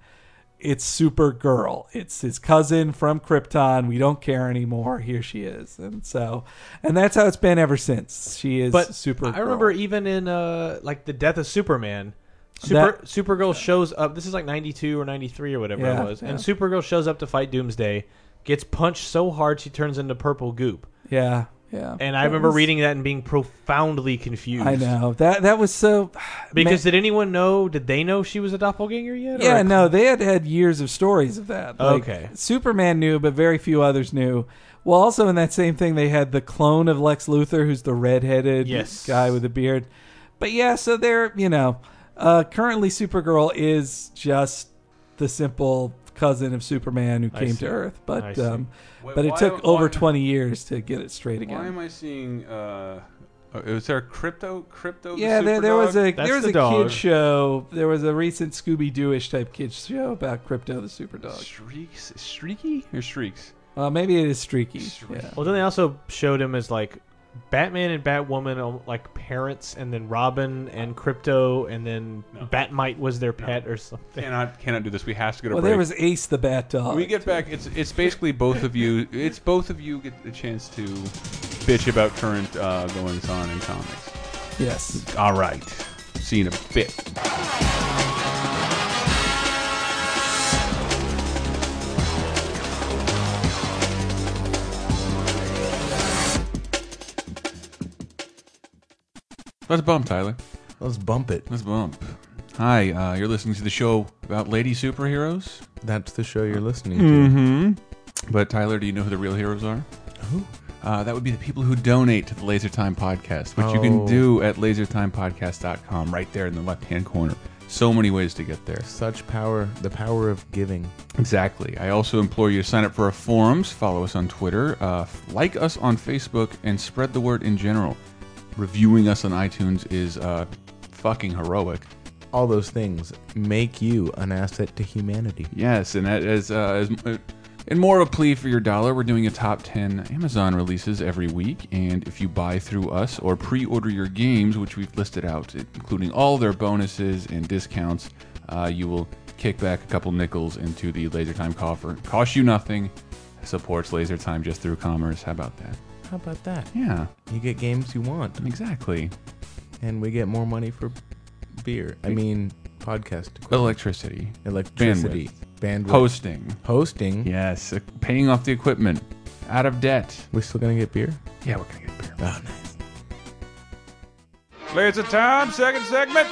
it's Supergirl. It's his cousin from Krypton. We don't care anymore. Here she is, and so, and that's how it's been ever since. She is but Supergirl. I remember e- even in uh, like the death of Superman, Super That- Supergirl shows up. This is like ninety two or ninety three or whatever Yeah, it was, yeah. and Supergirl shows up to fight Doomsday, gets punched so hard she turns into purple goop. Yeah, yeah. And I That remember was- reading that and being profoundly confused. I know that that was so [sighs] Because did anyone know? Did they know she was a doppelganger yet? or Yeah, a- no, they had had years of stories of that. Like, Okay. Superman knew, but very few others knew. Well, also in that same thing, they had the clone of Lex Luthor, who's the redheaded Yes. guy with the beard. But yeah, so they're, you know, uh, currently Supergirl is just the simple cousin of Superman who I came see. to Earth. I But see. um, Wait, but it why- took over why- 20 years to get it straight Why again. am I seeing? Uh, oh, is there a crypto? Crypto? the Yeah, there, there was Superdog? a That's there was the a dog. kid show. There was a recent Scooby Dooish type kid show about Crypto the Superdog. Shrieks, streaky or shrieks? Uh, maybe it is streaky. Streaky. Yeah. Well, then they also showed him as like Batman and Batwoman, um, like parents, and then Robin and Crypto, and then Batmite was their pet or something. Cannot, cannot do this. We have to go to Well, break. there was Ace the Bat Dog. we get back. It's it's basically both of you. It's both of you get the chance to bitch about current uh, goings on in comics. yes. All right. See you in a bit. Let's bump, Tyler. Let's bump it. Let's bump. Hi, uh, you're listening to the show about lady superheroes. That's the show you're listening to. Mm-hmm. But Tyler, do you know who the real heroes are? Who? Uh, that would be the people who donate to the Laser Time Podcast, which you can Oh. do at lasertimepodcast.com right there in the left hand corner. So many ways to get there. Such power, the power of giving. Exactly. I also implore you to sign up for our forums, follow us on Twitter, uh, like us on Facebook, and spread the word in general. Reviewing us on iTunes is uh, fucking heroic. All those things make you an asset to humanity. Yes, and that is, uh, is uh, and more of a plea for your dollar. We're doing a top ten Amazon releases every week, and if you buy through us or pre-order your games, which we've listed out, including all their bonuses and discounts, uh, you will kick back a couple nickels into the Laser Time coffer. Cost you nothing. Supports Laser Time just through commerce. How about that? How about that? Yeah, You get games you want, exactly. and we get more money for beer. I mean, podcast equipment. Electricity, electricity, bandwidth, hosting. hosting. Yes, uh, paying off the equipment. Out of debt. We're still gonna get beer. Yeah, we're gonna get beer. Oh, nice. Laser Time, second segment.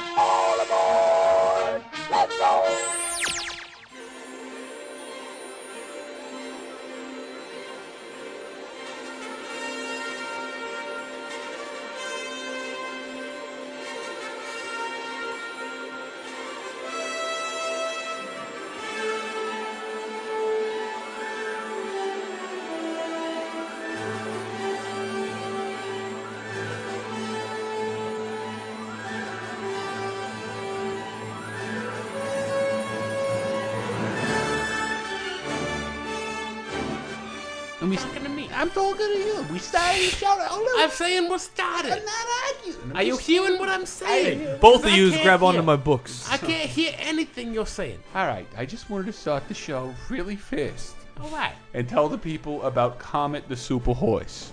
I'm talking to you. We started each other. I'm saying what started. I'm not arguing. Are you hearing what I'm saying? Both of I you can't grab onto hear. my books. I can't hear anything you're saying. All right, I just wanted to start the show really fast All right. and tell the people about Comet the Superhorse.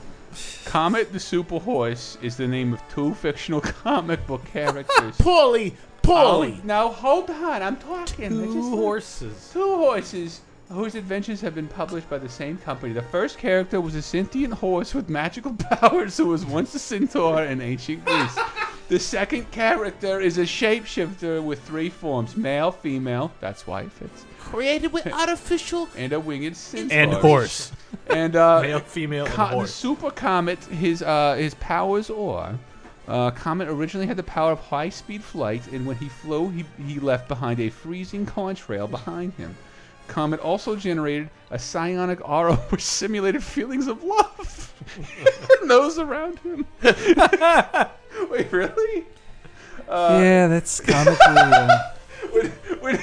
Comet the Superhorse is the name of two fictional [laughs] comic book characters. Oh, Poorly, poorly. now hold on, I'm talking. I just- horses. two horses whose adventures have been published by the same company. The first character was a sentient horse with magical [laughs] powers who was once a centaur in ancient Greece. The second character is a shapeshifter with three forms male, female, that's why it fits, Created [laughs] with artificial. and a winged [laughs] centaur. And horse. And, uh, Male, female, and co- the horse. super comet, his, uh, his powers are. Uh, Comet originally had the power of high speed flight, and when he flew, he, he left behind a freezing corn trail behind him. Comet also generated a psionic aura [laughs] which simulated feelings of love [laughs] in those around him. [laughs] Wait, really? Uh, yeah, [laughs] that's comically. Uh, when, when,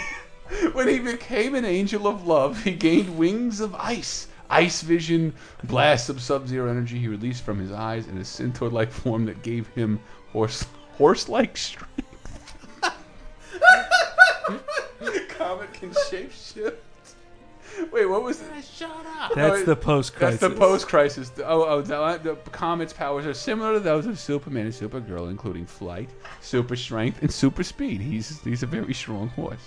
when he became an angel of love, he gained wings of ice, ice vision, blasts of sub-zero energy he released from his eyes, and a centaur-like form that gave him horse [laughs] horse-like strength. Comet can shapeshift. Wait, what was it? Shut up. That's the post-crisis. That's the post crisis. Oh, oh the, the comet's powers are similar to those of Superman and Supergirl, including flight, super strength, and super speed. He's he's a very strong horse.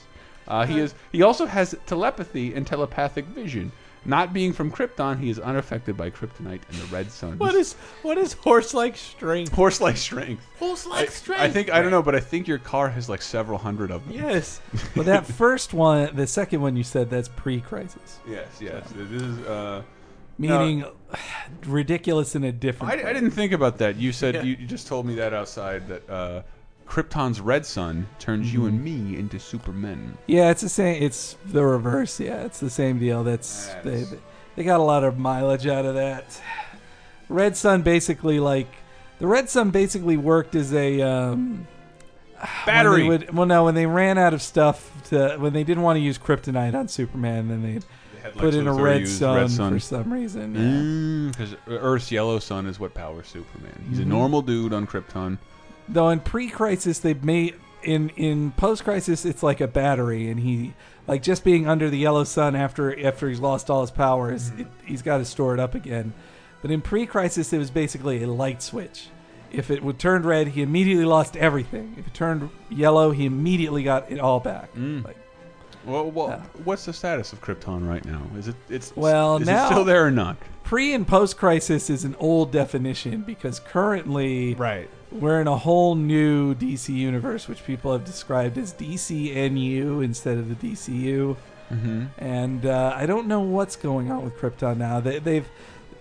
Uh, he is. He also has telepathy and telepathic vision. Not being from Krypton, he is unaffected by kryptonite and the red sun. What is what is horse like strength? Horse like strength. Horse like strength. I think I don't know, but I think your car has like several hundred of them. Yes. well, that first one, the second one you said, that's pre-crisis, Yes, yes. This is uh, meaning [sighs] no, ridiculous in a different. I, way. I didn't think about that. You said you, you just told me that outside that uh, Krypton's red sun turns you and me into supermen. Yeah, it's the same. It's the reverse. Yeah, it's the same deal. That's they. That's- They got a lot of mileage out of that. Red Sun basically like the Red Sun basically worked as a um, Battery. when they would- well, no, when they ran out of stuff to when they didn't want to use kryptonite on Superman, then they'd had put Lex in a Luthor red use sun, red sun. for some reason. yeah. Because Hmm, Earth's yellow sun is what powers Superman. He's Mhm. a normal dude on Krypton. though in pre-crisis they made in in post-crisis it's like a battery and he like just being under the yellow sun after after he's lost all his powers it, he's got to store it up again but in pre-crisis it was basically a light switch if it would turn red he immediately lost everything if it turned yellow he immediately got it all back like Well, well what's the status of Krypton right now? Is it it's Well, is now- it still there or not? pre and post crisis is an old definition because currently right we're in a whole new DC universe which people have described as DCNU instead of the DCU. Mhm. And uh, I don't know what's going on with Krypton now. They, they've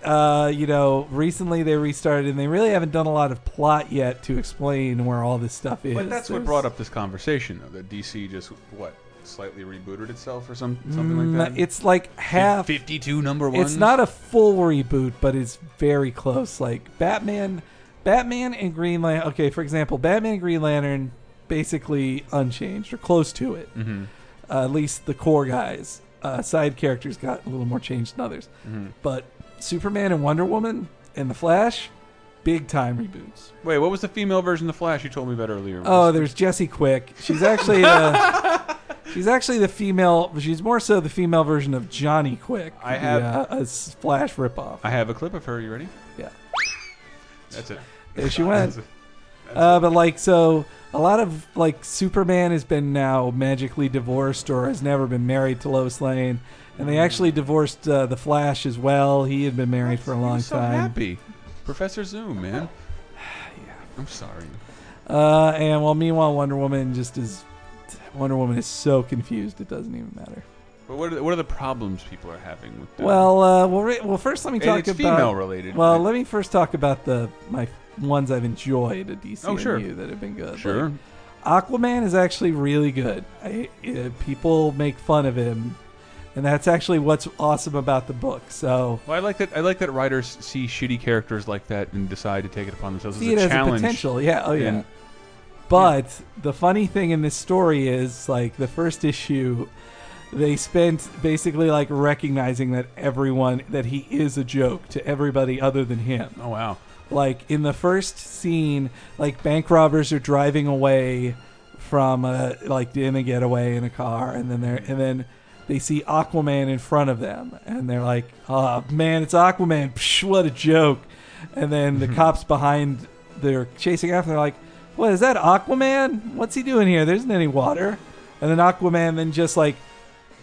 uh, you know, recently they restarted and they really haven't done a lot of plot yet to explain where all this stuff is. But that's what There's- brought up this conversation, though. That DC just what slightly rebooted itself or some something like Mm, that. It's like half fifty-two number one. It's not a full reboot, but it's very close. Like Batman, Batman and Green Lantern. Okay, for example, Batman and Green Lantern basically unchanged or close to it. Mhm. Uh, at least the core guys, uh, side characters got a little more changed than others. Mhm. But Superman and Wonder Woman and the Flash, big time reboots. Wait, what was the female version of the Flash you told me about earlier? Oh, there's Jessie Quick. She's actually the, [laughs] she's actually the female. She's more so the female version of Johnny Quick. I have- the, uh, a Flash ripoff. I have a clip of her. You ready? Yeah. That's it. There she [laughs] went. That's it. Uh, but like so, a lot of like Superman has been now magically divorced or has never been married to Lois Lane, and Mm. they actually divorced uh, the Flash as well. He had been married for a long I'm so time. happy, Professor Zoom, [sighs] man. I'm sorry. Uh, and well, meanwhile, Wonder Woman just is. Wonder Woman is so confused; it doesn't even matter. But what are the, what are the problems people are having with? The, Well, uh, well, re- well. First, let me And talk it's about female-related, Well, right? let me first talk about the my ones I've enjoyed at DC Oh, sure. that have been good. Sure. Like, Aquaman is actually really good. I, uh, people make fun of him, and that's actually what's awesome about the book. So Well, I like that. I like that writers see shitty characters like that and decide to take it upon themselves see it as a as challenge. a potential. Yeah. Oh yeah. And- but the funny thing in this story is like the first issue, they spent basically like recognizing that everyone that he is a joke to everybody other than him. oh wow. like in the first scene like bank robbers are driving away from a like in a getaway in a car and then they're and then they see aquaman in front of them and they're like oh man it's aquaman Psh, what a joke and then the cops behind they're chasing after they're like what is that aquaman what's he doing here there isn't any water and then aquaman then just like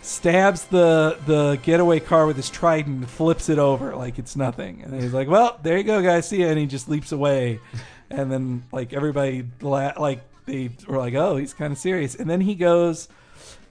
stabs the the getaway car with his trident, and flips it over like it's nothing, and he's like, "Well, there you go, guys, see ya," and he just leaps away, and then like everybody la- like they were like, "Oh, he's kind of serious," and then he goes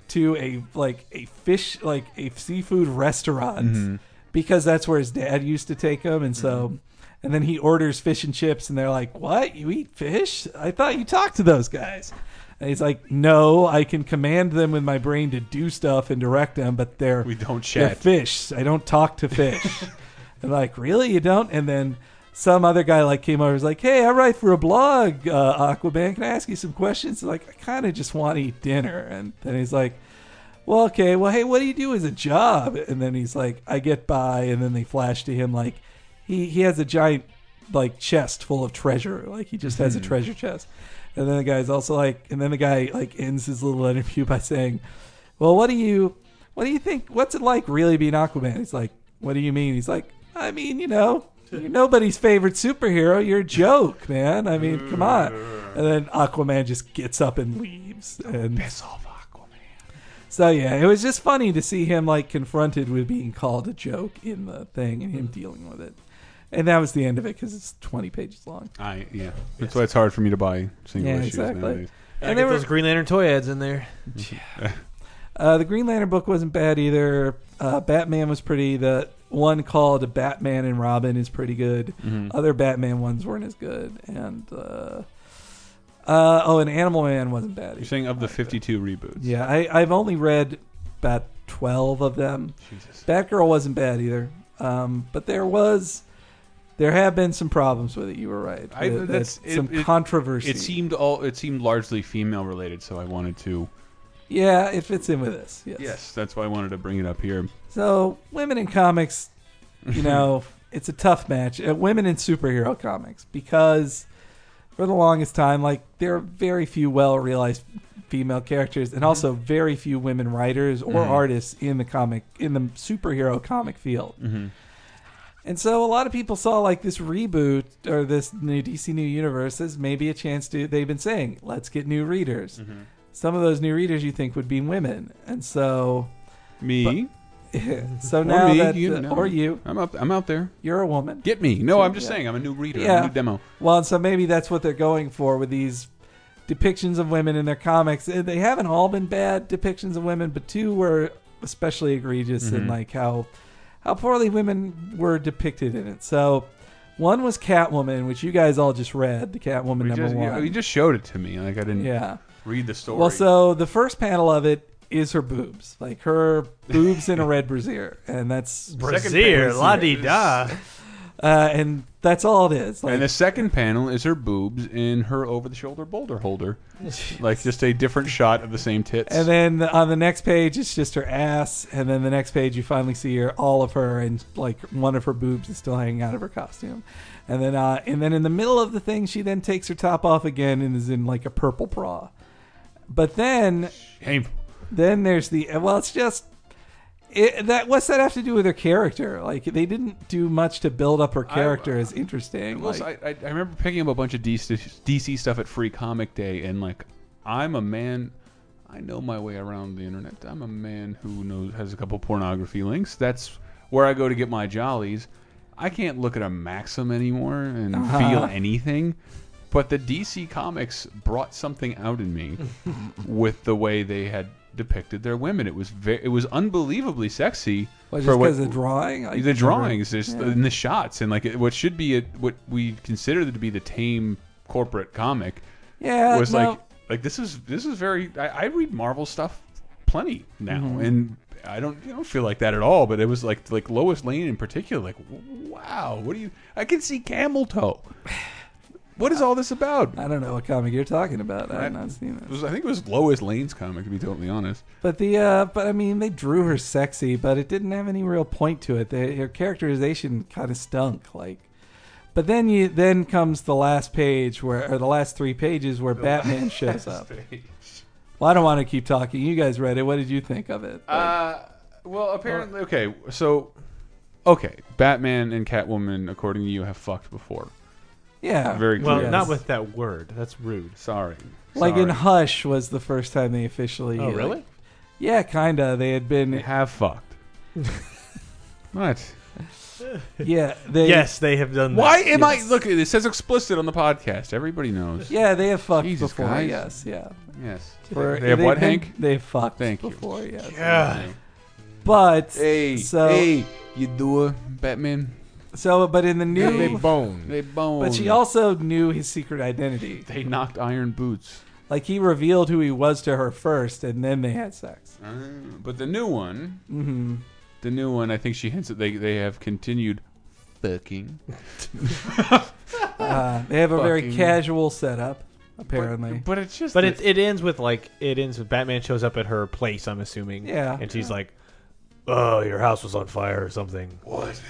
to a like a fish like a seafood restaurant Mhm. because that's where his dad used to take him, and Mm-hmm. so. And then he orders fish and chips, and they're like, "What? You eat fish? I thought you talked to those guys." And he's like, "No, I can command them with my brain to do stuff and direct them, but they're We don't they're chat. fish. I don't talk to fish." [laughs] and like, really, you don't? And then some other guy like came over, and was like, "Hey, I write for a blog, uh, Aquaman. Can I ask you some questions?" Like, I kind of just want to eat dinner. And then he's like, well, okay, well, hey, what do you do as a job? And then he's like, I get by. And then they flash to him like, he, he has a giant like chest full of treasure. Like he just has a Hmm. [laughs] treasure chest. And then the guy's also like, and then the guy like ends his little interview by saying, "Well, what do you, what do you think? What's it like really being Aquaman?" He's like, "What do you mean?" He's like, "I mean, you know, you're nobody's favorite superhero. You're a joke, man. I mean, come on." And then Aquaman just gets up and leaves. And piss off, Aquaman. So yeah, it was just funny to see him like confronted with being called a joke in the thing and him dealing with it. And that was the end of it because it's 20 pages long. I yeah. That's why it's hard for me to buy single Yeah, issues exactly. nowadays. And there those Green Lantern toy ads in there. Uh, the Green Lantern book wasn't bad either. Uh, Batman was pretty. The one called Batman and Robin is pretty good. Mhm. Other Batman ones weren't as good. And uh, uh, oh, and Animal Man wasn't bad. You're saying of the 52 reboots. Yeah, I, I've only read about 12 of them. Jesus. Batgirl wasn't bad either. Um, but there was, there have been some problems with it. You were right. I, That- that that's it- some it- controversy. It seemed all. It seemed largely female related, so I wanted to. yeah, it fits in with this. Yes. that's why I wanted to bring it up here. So women in comics, you know, it's a tough match. Uh, women in superhero comics because for the longest time, like there are very few well realized female characters, and also very few women writers or Mhm. artists in the comic in the superhero comic field. And so a lot of people saw like this reboot or this new DC New Universe as maybe a chance to. They've been saying, let's get new readers. Some of those new readers you think would be women, and so me. so Or now me, that you uh, know. or you, I'm up. I'm out there. You're a woman. Get me. No, I'm just saying, I'm a new reader. I'm a new demo. Well, and so maybe that's what they're going for with these depictions of women in their comics. And They haven't all been bad depictions of women, but two were especially egregious in Mhm. Mm-hmm. like how how poorly women were depicted in it. So one was Catwoman, which you guys all just read, the Catwoman You number just, one. you, you just showed it to me. Like I didn't. Yeah. Read the story. Well, so the first panel of it is her boobs, like her boobs in a red brassiere, and that's Brassiere, la-di-da. Uh, and that's all it is. Like, and the second panel is her boobs in her over-the-shoulder boulder [laughs] holder, like just a different shot of the same tits. and then on the next page, it's just her ass, and then the next page, you finally see her, all of her, and like one of her boobs is still hanging out of her costume, and then uh, and then in the middle of the thing, she then takes her top off again and is in like a purple bra, but then then there's the well, it's just. It, that what's that have to do with her character? Like they didn't do much to build up her I- character as interesting. Well, so like- I, I, I remember picking up a bunch of DC, DC stuff at Free Comic Day, and like, I'm a man. I know my way around the internet. I'm a man who knows has a couple pornography links. That's where I go to get my jollies. I can't look at a Maxim anymore and Uh-huh. feel anything. But the DC Comics brought something out in me with the way they had depicted their women. It was very, it was unbelievably sexy. Well, for just what- 'cause the drawing? I the never- drawings, just Yeah. in the shots, and like it, what should be a, what we consider to be the tame corporate comic. Yeah, was no. like like this is this is very. I, I read Marvel stuff plenty now, Mhm. and I don't I don't feel like that at all. But it was like like Lois Lane in particular. Like wow, what do you? I can see camel toe. [sighs] What is all this about? I don't know what comic you're talking about. I've not seen it. It was, I think it was Lois Lane's comic, to be totally honest. But the uh, but I mean, they drew her sexy, but it didn't have any real point to it. They, her characterization kind of stunk. Like, but then you then comes the last page where, or the last three pages where Batman shows up. Well, I don't want to keep talking. You guys read it. What did you think of it? Uh, well, apparently, okay. So, okay, Batman and Catwoman, according to you, have fucked before. Yeah. very Well, clear. not with that word. That's rude. Sorry. Like in Sorry. Hush was the first time they officially. Oh, like- really? yeah, kinda. They had [laughs] been have [laughs] fucked. what? Yeah, they- yes, they have done. Why that. am Yes. I look? It says explicit on the podcast. Everybody knows. Yeah, they have fucked Jesus before. Christ. Yes, yeah. Yes. For- they have what, been- [laughs] Hank? They have fucked Thank you. before. Yes. Yeah. But Hey, so hey, you do a Batman. So, but in the new They bone. They bone. But she also knew his secret identity. They knocked iron boots. Like he revealed who he was to her first, and then they had sex. Uh, but the new one, Mhm. the new one, I think she hints that they they have continued fucking. Uh, they have a very Fucking- casual setup, apparently. Ah. but it's just But that- it, it ends with like it ends with Batman shows up at her place. I'm assuming. Yeah. And she's like, "Oh, your house was on fire or something." What?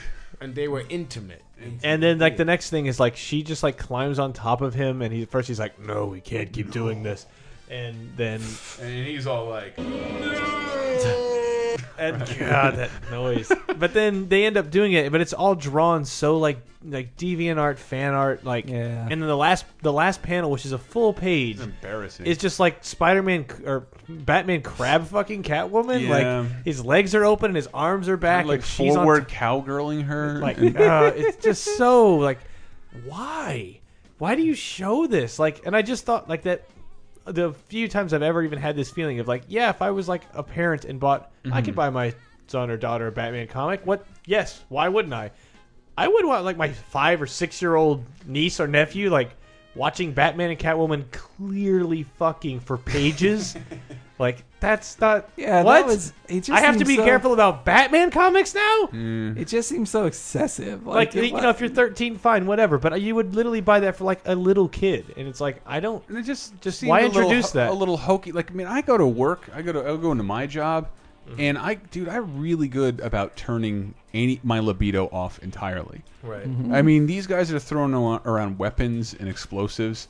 And they were intimate. And then like the next thing is like she just like climbs on top of him, and he first he's [laughs] like, "No, we can't keep doing this," and then and he's all like, [laughs] And God, that noise. But then they end up doing it, but it's all drawn so like like deviant art, fan art, like. Yeah. And then the last the last panel, which is a full page, It's embarrassing. It's just like Spider Man or Batman crab fucking Catwoman. Yeah. Like his legs are open and his arms are back. like and she's on forward cowgirling her. [laughs] [laughs] like and- uh, it's just so like why why do you show this like and i just thought like that the few times i've ever even had this feeling of like yeah if i was like a parent and bought i could Mhm. buy my son or daughter a batman comic what yes why wouldn't i i would want like my five or six year old niece or nephew like watching batman and catwoman clearly fucking for [laughs] pages like that's not Yeah, that what was- it just i have to seems be so- careful about batman comics now It just seems so excessive. like, it you wa- know, if you're 13, fine, whatever. But you would literally buy that for like a little kid, and it's like I don't. And it just just why seemed a little introduce ho- that? a little hokey. Like I mean, I go to work, I go to I go into my job, Mm-hmm. and I dude, I'm really good about turning any my libido off entirely. Right. Mhm. I mean, these guys are throwing a- around weapons and explosives.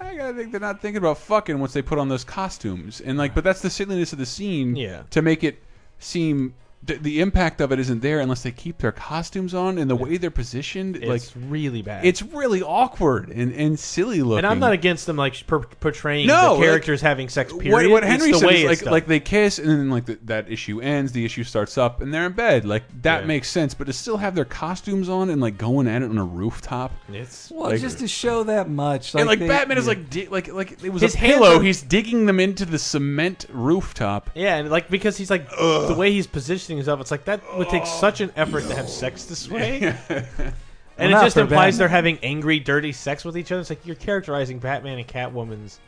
I gotta think they're not thinking about fucking once they put on those costumes and like, but that's the silliness of the scene. Yeah. To make it seem. The, the impact of it isn't there unless they keep their costumes on and the way they're positioned. like It's really bad. It's really awkward and, and silly looking. and I'm not against them like per- portraying No, the like, characters having sex. Period. What, what It's Henry the said way is it's like, done. like they kiss and then like the, that issue ends, the issue starts up and they're in bed. Like that makes sense, but to still have their costumes on and like going at it on a rooftop. It's well, just to show that much, like and like they- Batman is yeah. like di- like like it was His a halo. panther- He's digging them into the cement rooftop. yeah, and like because he's like the way he's positioning himself, it's like that would take Oh, such an effort to have sex this [laughs] way. And Well, it not just for implies Batman. they're having angry, dirty sex with each other. It's like you're characterizing Batman and Catwoman's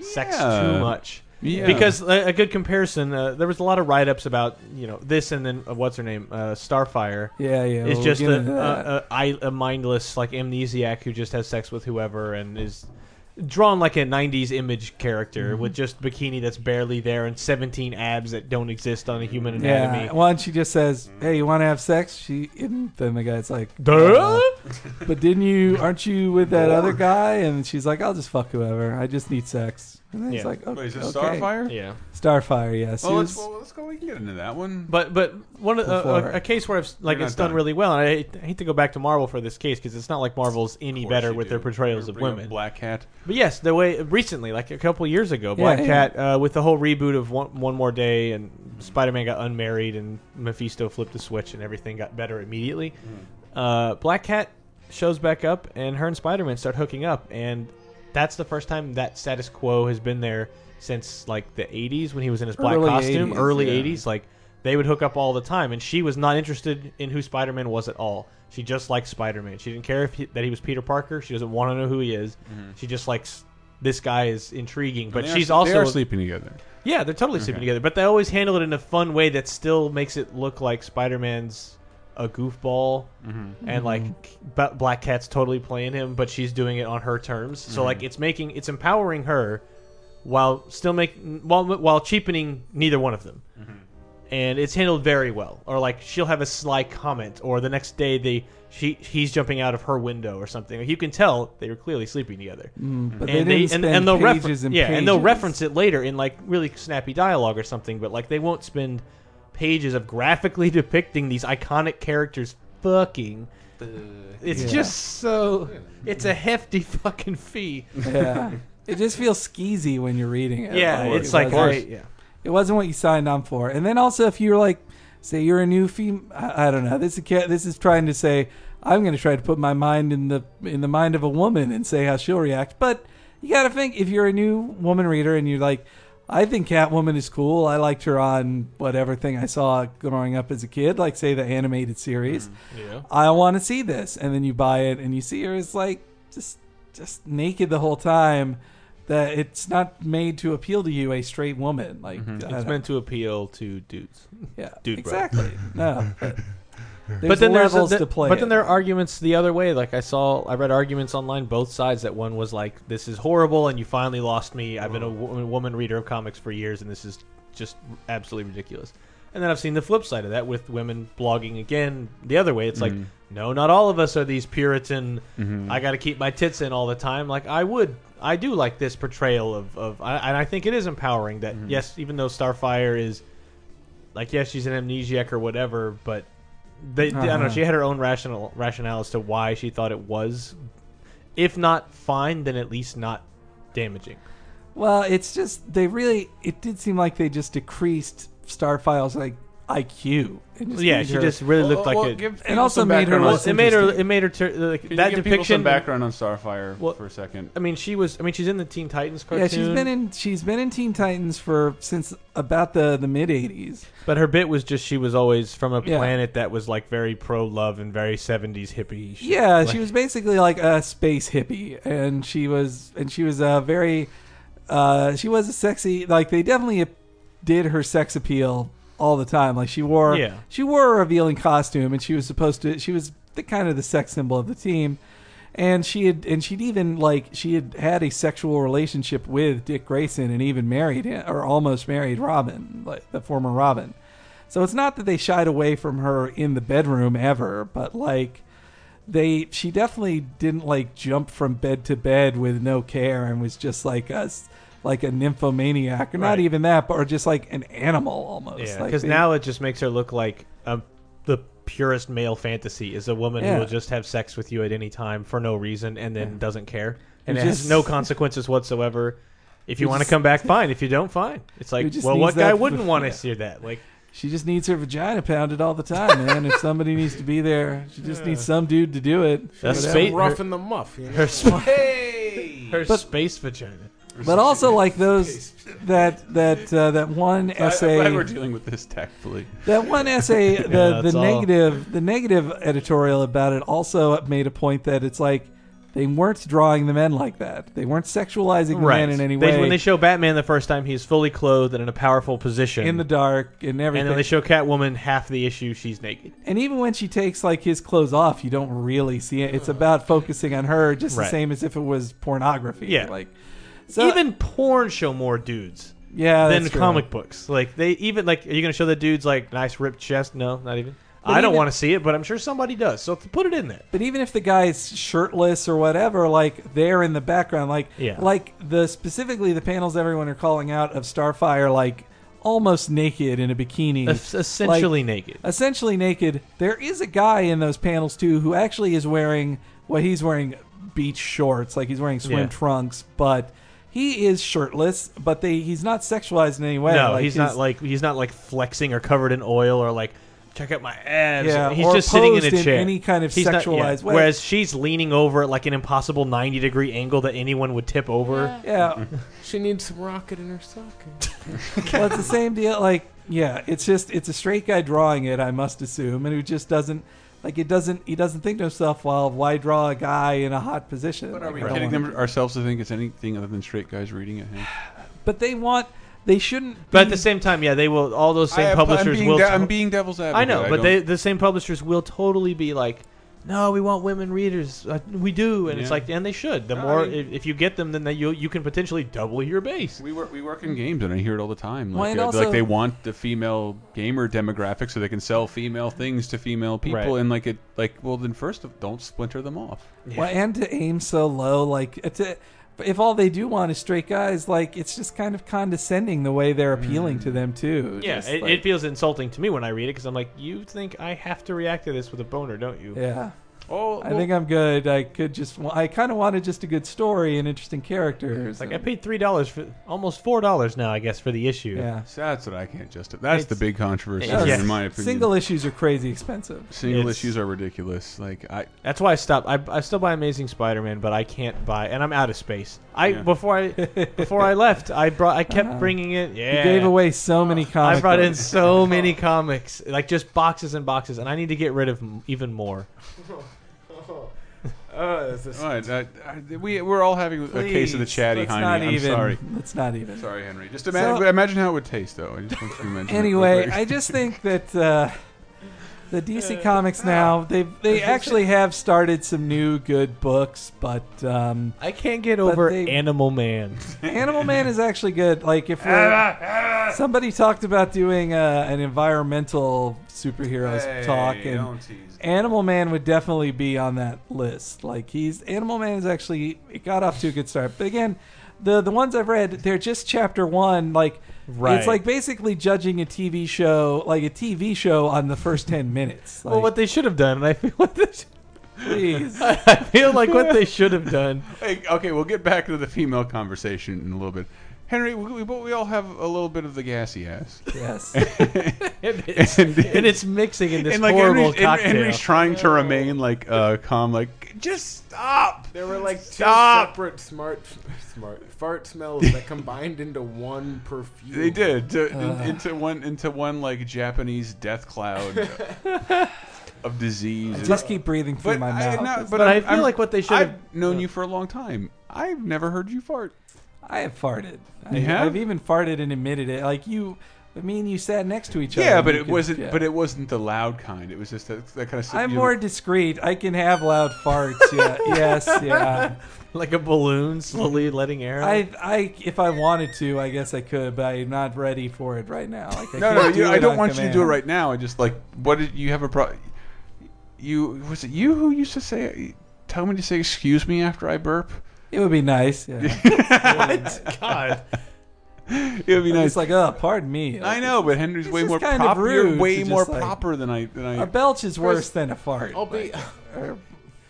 sex Yeah. too much. Yeah. Because a, a good comparison, uh, there was a lot of write ups about you know this and then uh, what's her name, uh, Starfire. Yeah, yeah, It's we'll just get a, into that. a, a, I- a mindless like amnesiac who just has sex with whoever and is drawn like a 90s image character with just bikini that's barely there and 17 abs that don't exist on a human anatomy. Yeah, one she just says, "Hey, you want to have sex?" She and then the guy's like, Duh. "Uh, but didn't you? Aren't you with that other guy?" And she's like, "I'll just fuck whoever. I just need sex." And then he's Yeah. like, okay, Wait, is this okay." Starfire? Oh, Yeah. Starfire. Yes. Well, let's, well, let's go. We can get into that one. But but one of uh, a, Before- a, a case where I've, like You're it's not done done. really well, and I hate, I hate to go back to Marvel for this case because it's not like Marvel's any course better you with do. their portrayals You're of bringing up women. Black Cat. But yes, the way recently, like a couple years ago, Yeah, Black yeah. Cat uh, with the whole reboot of One, One More Day and Spider Man got unmarried and Mephisto flipped a switch and everything got better immediately. Mm-hmm. Uh, Black Cat shows back up and her and Spider Man start hooking up, and that's the first time that status quo has been there since like the 80s when he was in his black Early costume, 80s, early yeah. 80s. Like they would hook up all the time, and she was not interested in who Spider Man was at all. She just liked Spider Man. She didn't care if he, that he was Peter Parker. She doesn't want to know who he is. She just likes this guy is intriguing, but They are- she's they also are sleeping together. Yeah, they're totally sleeping Okay. together, but they always handle it in a fun way that still makes it look like Spider Man's a goofball and like B- Black Cat's totally playing him, but she's doing it on her terms. So like it's making it's empowering her while still making while while cheapening neither one of them and it's handled very well. Or like she'll have a sly comment, or the next day they she he's jumping out of her window or something. Like you can tell they were clearly sleeping together. Mm, but they and didn't and, spend and they'll refer- pages and yeah, and they'll pages. reference it later in like really snappy dialogue or something. But like they won't spend pages of graphically [laughs] depicting these iconic characters fucking. It's Yeah. just so. It's a hefty [laughs] fucking fee. yeah. It just feels skeezy when you're reading it. Yeah, it's it like wasn't- I- yeah. It wasn't what you signed on for. And then also, if you're like, say you're a new fem, I, I don't know. This is ca- this is trying to say I'm going to try to put my mind in the in the mind of a woman and say how she'll react. But you got to think if you're a new woman reader and you're like, I think Catwoman is cool. I liked her on whatever thing I saw growing up as a kid, like say the animated series. yeah. I want to see this, and then you buy it and you see her is like just just naked the whole time. That it's not made to appeal to you, a straight woman. Like I Mm-hmm. It's don't- meant to appeal to dudes. Yeah, dude, bro. exactly. [laughs] No, but, but then there's levels the- to play. But then it. there are arguments the other way. Like I saw, I read arguments online both sides. That one was like, "This is horrible," and you finally lost me. I've been a wo- woman reader of comics for years, and this is just absolutely ridiculous. And then I've seen the flip side of that with women blogging again the other way. It's Mhm. like, Mm-hmm. no, not all of us are these Puritan. Mhm. I got to keep my tits in all the time. Like I would, I do like this Mm-hmm. portrayal of of, I, and I think it is empowering that yes, even though Starfire is Like, yeah, she's an amnesiac or whatever, but they, I don't know. Uh-huh. She had her own rational rationale as to why she thought it was, if not fine, then at least not damaging. Well, it's just they really. It did seem like they just decreased Starfile's like IQ. and just yeah, made she her- just really looked like it. and also made her. Less It made her. interesting. It made her. Ter- like, Can you that give people depiction. some background on Starfire Well, for a second? I mean, she was. I mean, she's in the Teen Titans cartoon. Yeah, she's been in. She's been in Teen Titans for since about the the mid '80s. But her bit was just she was always from a Yeah. planet that was like very pro love and very seventies hippie. shit. Yeah, Like- she was basically like a space hippie, and she was and she was a very, uh, she was a sexy. Like they definitely did her sex appeal all the time. Like she wore, Yeah. she wore a revealing costume, and she was supposed to. She was the kind of the sex symbol of the team, and she had and she'd even like she had had a sexual relationship with Dick Grayson, and even married him or almost married Robin, like the former Robin. So it's not that they shied away from her in the bedroom ever, but like they she definitely didn't like jump from bed to bed with no care and was just like us like a nymphomaniac or not Right. even that but or just like an animal almost Yeah, Like, because they- now it just makes her look like um, the purest male fantasy is a woman Yeah. who will just have sex with you at any time for no reason and then doesn't care and Who it has just- [laughs] no consequences whatsoever. If you Who want to just- come [laughs] back, fine. If you don't, fine. It's who like, just well, needs what guy that- [laughs] wouldn't want to yeah. see that? Like, she just needs her vagina pounded all the time man if somebody needs to be there she just needs some dude to do it That's Whatever. fate- rough in the muff. You know? her, [laughs] sp- Hey! her But- space vagina. but also like those that that uh, that one I, am essay glad we're dealing with this tactfully. That one essay, [laughs] the, Yeah, the that's all. negative, the negative editorial about it also made a point that it's like they weren't drawing the men like that. They weren't sexualizing the men in any They- way. when they show Batman the first time, he's fully clothed and in a powerful position. in the dark and everything. and then they show Catwoman half the issue, she's naked. And even when she takes like his clothes off, you don't really see it. It's about focusing on her, just the Right. same as if it was pornography. Yeah. like so. even porn show more dudes yeah, than that's true. comic books. Like they even like are you going to show the dudes like nice ripped chest? No, not even. But I don't even- want to see it, but I'm sure somebody does. So put it in there. But even if the guy's shirtless or whatever, like they're in the background, like Yeah. like the specifically the panels everyone are calling out of Starfire, like almost naked in a bikini, Es- essentially like, naked. essentially naked. There is a guy in those panels too who actually is wearing well, he's wearing beach shorts, like he's wearing swim Yeah. trunks, but he is shirtless. But they he's not sexualized in any way. no, like, he's his- not like he's not like flexing or covered in oil or like check out my abs. Yeah, he's or just sitting in a posed in chair. any kind of He's not- sexualized way. Whereas she's leaning over at like an impossible 90 degree angle that anyone would tip over. yeah. She needs some rocket in her [laughs] socket. well, it's the same deal. Like, yeah, it's just it's a straight guy drawing it, I must assume, and who just doesn't like it doesn't he doesn't think to himself, well, why draw a guy in a hot position? But are we Like, I don't kidding wanna- them ourselves to think it's anything other than straight guys reading it? Hank? But they want they shouldn't. But at be- the same time, yeah, they will. All those same I- I'm publishers being, will. de- to- I'm being devil's advocate. I know, but don't- they the same publishers will totally be like, "No, we want women readers. Uh, we do," and it's Yeah. like, and they should. The No, I more, mean- if, if you get them, then they, you you can potentially double your base. We work, we work in games, and I hear it all the time. Well, Like, and uh, also- like they want the female gamer demographic so they can sell female things to female people, Right. and like it, like well, then first of, don't splinter them off. well, and to aim so low, like it's a- but if all they do want is straight guys, like it's just kind of condescending the way they're appealing to them too. Mm. Yeah, Just it, like- it feels insulting to me when I read it because I'm like, you think I have to react to this with a boner, don't you? yeah. Oh, I think I'm good. I could just. I kind of wanted just a good story and interesting characters. It's like I and- paid three dollars for almost four dollars now, I guess, for the issue. yeah. that's what I can't justify. That's the It's- big controversy, Yeah. in my opinion. Single issues are crazy expensive. Single It's- issues are ridiculous. Like I, That's why I stopped. I, I still buy Amazing Spider-Man, but I can't buy, and I'm out of space. I Yeah. before I before I left, I brought, I kept bringing it. Yeah, You gave away so many comics. I brought in [laughs] so many comics, like just boxes and boxes, and I need to get rid of m- even more. Oh, that's a all right, I, I, we we're all having a case of the chatty Let's hiney. not I'm even. sorry. Let's not even. Sorry, Henry. Just imagine, imagine how it would taste, though. I just want you to [laughs] mention it. [laughs] Anyway, I just think that uh, the Uh, DC Comics now they [laughs] they actually have started some new good books, but um, I can't get But over they- Animal Man. Animal Man is actually good. Like if we're, somebody talked about doing uh, an environmental superheroes talk and. Animal Man would definitely be on that list. Like he's Animal Man is actually it got off to a good start. But again, the the ones I've read, they're just chapter one. Like Right. It's like basically judging a TV show, like a TV show on the first 10 [laughs] minutes. well, what they should have done, and I feel [laughs] what they should, Please. I I feel like what they should have done. Hey, okay, we'll get back to the female conversation in a little bit. Henry, we, we, we all have a little bit of the gassy ass. [laughs] [laughs] [laughs] Yes. and, [laughs] it's, and, it's mixing in this and like horrible Henry's, Hen- cocktail. Henry's trying to remain like uh, calm, like just stop. There were like two Stop. separate smart, smart fart smells that combined into one perfume. they did to, Uh. into one into one like Japanese death [laughs] cloud of disease. I just keep breathing through But my I- mouth. no, It's- but But I'm- I feel I'm- like what they should I've have- known you for a long time. I've never heard you fart. I have farted. I, You have? I've even farted and admitted it. Like you, I mean, you sat next to each other. Yeah, but You it could- wasn't. yeah. But it wasn't the loud kind. It was just that, that kind of. I'm more discreet. I can have loud farts. [laughs] Yeah. yes. Yeah. like a balloon slowly letting air. out. I, I, if I wanted to, I guess I could, but I'm not ready for it right now. Like, I No, can't no, do you, it I don't on want you to do it command. right now. I just like what did you have a pro? You was it you who used to say tell me to say excuse me after I burp? It would be [laughs] nice. Yeah. God. It would be I'm nice. just like, oh, pardon me. I know, but Henry's It's way just more kind of proper. you're rude to way just, more like- proper than I than I. a belch is worse than a fart. oh, I'll be.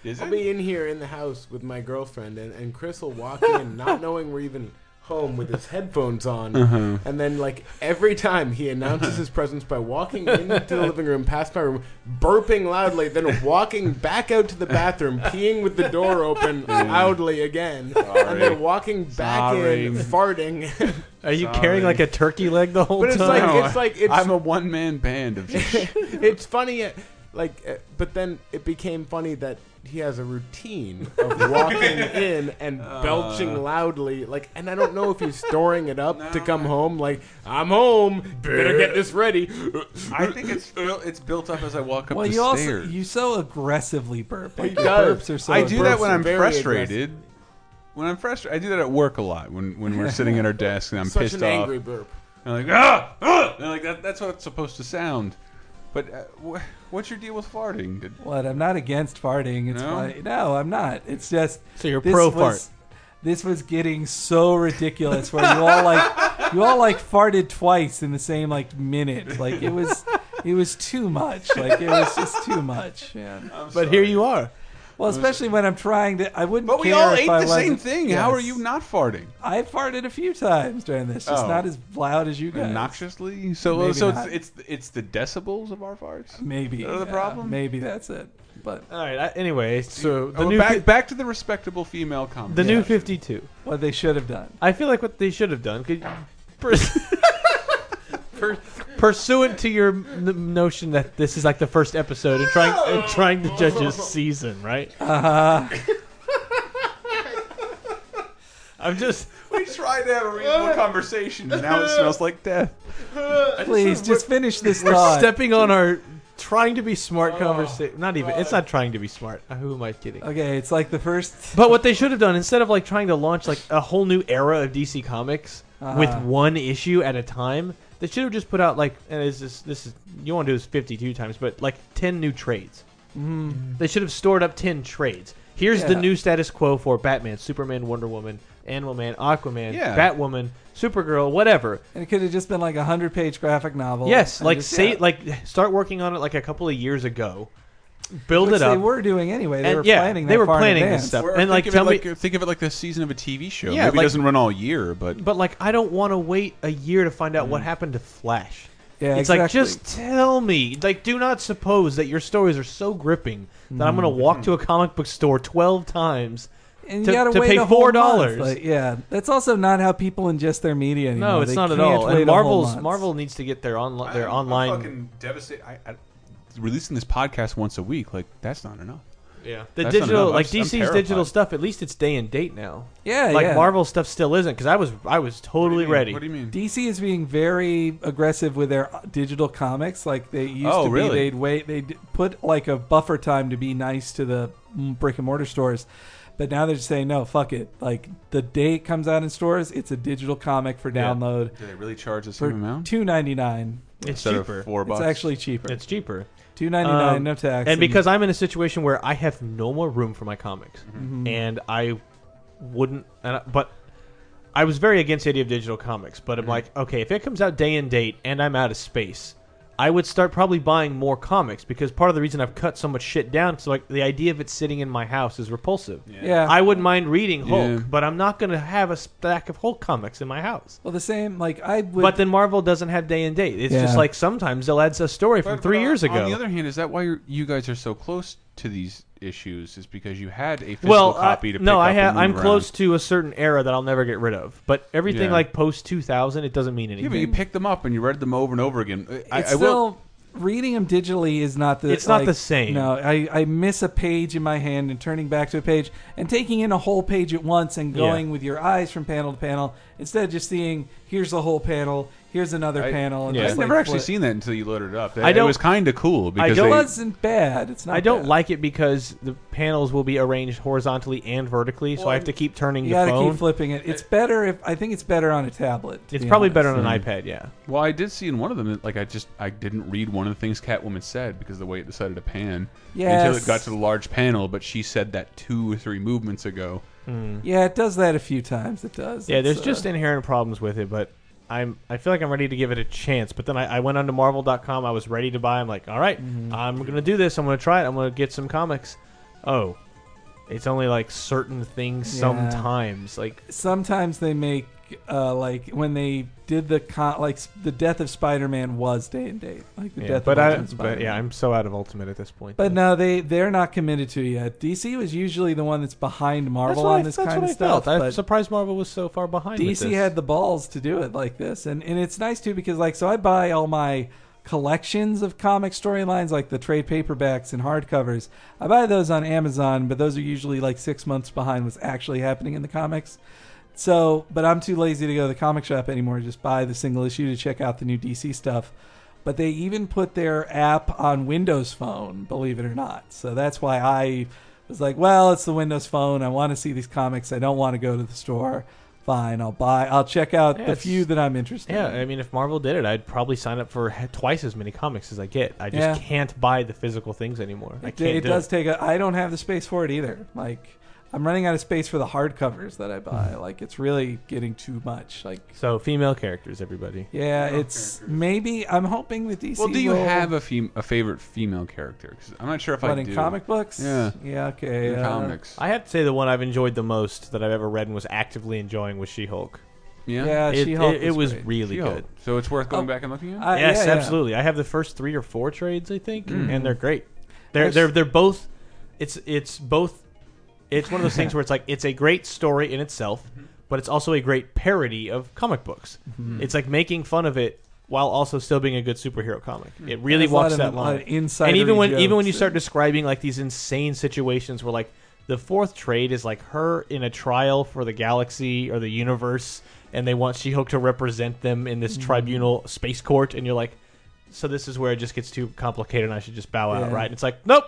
Is I'll it? be in here in the house with my girlfriend, and, and Chris will [laughs] walk in, not knowing we're even home, with his headphones on. Uh-huh. And then, like, every time he announces his presence by walking into the living room, past my room, burping loudly, then walking back out to [laughs] the bathroom, peeing with the door open loudly again, and Sorry. then walking back in, farting. [laughs] [laughs] Are you carrying like a turkey leg the whole But it's time? like- it's like- it's- I'm a one man band of just [laughs] it's funny, uh, like, uh, but then it became funny that he has a routine of walking in and belching loudly, like, and I don't know if he's storing it up to come home, like, I'm home, better get this ready. I think it's it's built up as I walk up Well, the you also stairs. you so aggressively burp. Like He your does. burps are so. I do that when aggressive, I'm very frustrated. When I'm frustrated, I do that at work a lot. When when we're sitting at our desk and I'm Such pissed an off, angry burp. and I'm like ah, ah! And I'm like that, that's what it's supposed to sound. But uh, wh- what's your deal with farting? Did- What? I'm not against farting. It's No? fine. no, I'm not. It's just So you're this pro was- This was getting so ridiculous where you all like you all like farted twice in the same like minute. Like it was it was too much. Like it was just too much. Yeah. [laughs] Um, but here you are. Well, especially when I'm trying to I wouldn't But we care all if ate I the wasn't- same thing. How are Yes. you not farting? I farted a few times during this, just Oh. not as loud as you guys. Obnoxiously. So Maybe so not. it's, it's it's the decibels of our farts. Maybe Is that the yeah, problem? Maybe that's it. But All right. I, anyway, so the Oh, new back fi- back to the respectable female the conversation. new Fifty Two. what they should have done. I feel like what they should have done. Could, pers- [laughs] per- pursuant to your n- notion that this is like the first episode and trying and trying to judge this season, right? Uh, I'm just. we tried to have a reasonable conversation, and now it smells like death. please just finish this We're thought. stepping on our trying to be smart conversation. Not even. It's not trying to be smart. Uh, Who am I kidding? Okay, it's like the first. But what they should have done instead of like trying to launch like a whole new era of DC Comics with Uh-huh. one issue at a time, they should have just put out like and it's just this is you want to do this fifty two times, but like ten new trades. They should have stored up ten trades. Here's the Mm-hmm. Yeah. new status quo for Batman, Superman, Wonder Woman, Animal Man, Aquaman, Yeah. Batwoman, Supergirl, whatever. And it could have just been like a hundred-page graphic novel. yes, and like just- say yeah, like start working on it like a couple of years ago. Build which it up. They were doing anyway. They And were yeah, planning. they that were far in planning this advance. stuff. Or And, think like, of tell it me- like, think of it like the season of a TV show. Yeah, Maybe it like- doesn't run all year, but But like, I don't want to wait a year to find out what happened to Flash. Mm. Yeah, it's like exactly. just tell me. Like, do not suppose that your stories are so gripping that I'm going to walk to a comic book store twelve times. Mm-hmm. And you to- gotta to wait pay a whole month, $4. Like, yeah, that's also not how people ingest their media anymore. No, it's They not at can't all. wait And a whole Marvel's month. Marvel needs to get their online their I'm- online. I'm fucking devastated. I, I, releasing this podcast once a week, like that's not enough. yeah, the That's not digital enough. like I'm s- I'm DC's digital terrified. stuff. At least it's day and date now. Yeah, like yeah. Marvel stuff still isn't because I was I was totally ready. What do you mean? DC is being very aggressive with their digital comics. Like they used Oh, to really? be, they'd wait, they'd put like a buffer time to be nice to the mm, brick and mortar stores. But now they're just saying, no, fuck it. Like the day it comes out in stores, it's a digital comic for download Do they really charge the same for amount? two ninety nine. It's Instead cheaper. of four It's bucks. actually cheaper. It's cheaper. two ninety nine, Um, no tax. And because I'm in a situation where I have Mm-hmm. Mm-hmm. no more room for my comics, and I wouldn't, and I, but I was very against the idea of digital comics, but I'm Mm-hmm. like, okay, if it comes out day and date and I'm out of space, I would start probably buying more comics because part of the reason I've cut so much shit down is like the idea of it sitting in my house is repulsive. Yeah. I wouldn't mind reading Hulk, Yeah. but I'm not going to have a stack of Hulk comics in my house. Well, the same. Like I would. But then Marvel doesn't have day and date. It's just Yeah. like sometimes they'll add a story But- from but uh, three on- years ago. On the other hand, is that why you're, you guys are so close to these issues? Is because you had a physical well, copy I- to pick no, up I and have. move I'm around. close to a certain era that I'll never get rid of. But everything Yeah. like post 2000, it doesn't mean anything. Yeah, but you picked them up and you read them over and over again. I, it's I will. still reading them digitally is not the. It's not like, the same. No, I, I miss a page in my hand and turning back to a page and taking in a whole page at once and Yeah. going with your eyes from panel to panel instead of just seeing here's the whole panel, here's another I- panel. And I've just, never like, actually flip. seen that until you loaded it up. I it don't- was kind of cool because I don't. they- wasn't bad. It's not. I don't bad. like it because the panels will be arranged horizontally and vertically, so I have to keep turning You the gotta phone. keep flipping it. It's better if I think it's better on a tablet. to It's be probably better honest. on an Mm-hmm. iPad, yeah. Well, I did see in one of them that like I just I didn't read one of the things Catwoman said because of the way it decided to pan until Yes. it got to the large panel, but she said that two or three movements ago. Yeah, it does that a few times. It does. Yeah, It's, there's uh, just inherent problems with it, but I'm I feel like I'm ready to give it a chance. But then I, I went onto Marvel.com. I was ready to buy. I'm like, all right, Mm-hmm. I'm gonna do this. I'm gonna try it. I'm gonna get some comics. Oh, it's only like certain things Yeah. sometimes. Like sometimes they make uh, like when they did the con- like s- the death of Spider-Man was day and date, like the yeah, death but of I Ultimate but Spider-Man. yeah, I'm so out of Ultimate at this point. But no, they they're not committed to it yet. DC was usually the one that's behind Marvel what I- on this that's kind what of I stuff. felt. I'm but surprised Marvel was so far behind. with DC this. had the balls to do it like this, and and it's nice too because like so I buy all my collections of comic storylines like the trade paperbacks and hardcovers. I buy those on Amazon, but those are usually like six months behind what's actually happening in the comics. So, but I'm too lazy to go to the comic shop anymore. Just buy the single issue to check out the new DC stuff. But they even put their app on Windows Phone, believe it or not. So that's why I was like, well, it's the Windows Phone. I want to see these comics. I don't want to go to the store. Fine, I'll buy. I'll check out Yeah, the it's- few that I'm interested Yeah, in. I mean, if Marvel did it, I'd probably sign up for he- twice as many comics as I get. I just Yeah. can't buy the physical things anymore. I It, can't it do does take a. I don't have the space for it either. Like I'm running out of space for the hardcovers that I buy. Like it's really getting too much. Like So female characters, everybody. yeah, it's maybe I'm hoping that DC. Well, do you will- have a fem a favorite female character? 'Cause I'm not sure if What, I in do. comic books? Yeah. Yeah, okay, In uh, comics. I have to say the one I've enjoyed the most that I've ever read and was actively enjoying was She-Hulk. Yeah. Yeah, it, She-Hulk It, it was was great. really She-Hulk. good. So it's worth going back and looking at. Uh, yes, yeah, yeah. absolutely. I have the first three or four trades, I think, and they're great. They're Yes. they're they're both. It's it's both. It's one of those things where it's like it's a great story in itself, but it's also a great parody of comic books. Mm-hmm. It's like making fun of it while also still being a good superhero comic. It really There's a lot walks of, that uh, line. insider-y and even when even when jokes you start and- describing like these insane situations where like the fourth trade is like her in a trial for the galaxy or the universe and they want She-Hulk to represent them in Mm-hmm. this tribunal space court and you're like so this is where it just gets too complicated and I should just bow out Yeah. right and it's like nope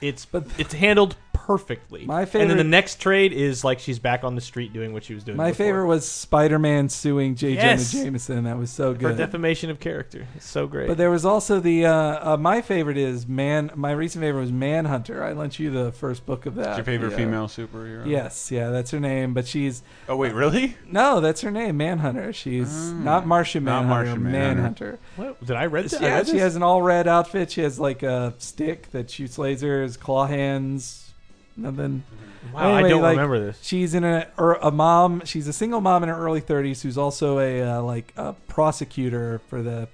it's But- it's handled perfectly My and then the favorite- next trade is like she's back on the street doing what she was doing My before. favorite was Spider-Man suing J. Yes. Jonah Jameson. That was so for good. defamation of character it's so great But there was also the uh, uh, my favorite is man. My recent favorite was Manhunter. I lent you the first book of that. What's your favorite Yeah. female superhero? Yes, yeah, that's her name. But she's Oh wait, really? Ah. no, that's her name, Manhunter. She's not Martian Not Manhunter, Martian Manhunter. Manhunter. what? Oh, did I read that? I Yeah, read she this? has an all red outfit. She has like a stick that shoots lasers, claw hands, nothing. Wow, I Anyway, don't like, remember this. She's in a or a mom. She's a single mom in her early 30s who's also a uh, like a prosecutor for the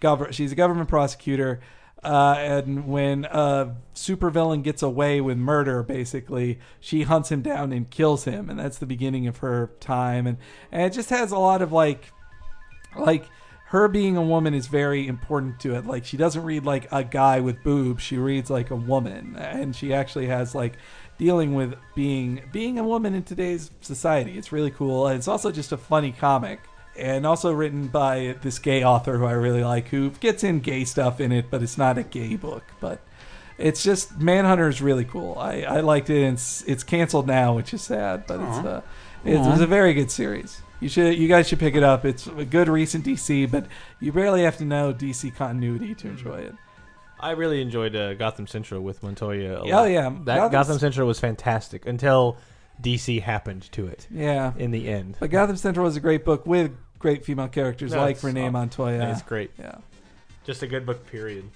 government. She's a government prosecutor. Uh, and when a supervillain gets away with murder, basically, she hunts him down and kills him, and that's the beginning of her time. And and it just has a lot of like like her being a woman is very important to it like she doesn't read like a guy with boobs she reads like a woman and she actually has like dealing with being being a woman in today's society it's really cool and it's also just a funny comic and also written by this gay author who i really like who gets in gay stuff in it but it's not a gay book but it's just manhunter is really cool i, I liked it and it's, it's canceled now which is sad but it's uh, it was a very good series you should, you guys should pick it up. It's a good recent DC, but you barely have to know DC continuity to enjoy it. I really enjoyed uh, Gotham Central with Montoya. a Oh, lot. yeah. that Gotham's- Gotham Central was fantastic until DC happened to it. Yeah. In the end. But Gotham Central is a great book with great female characters No, like it's Renee aw- Montoya. It's great. Yeah. Just a good book, period.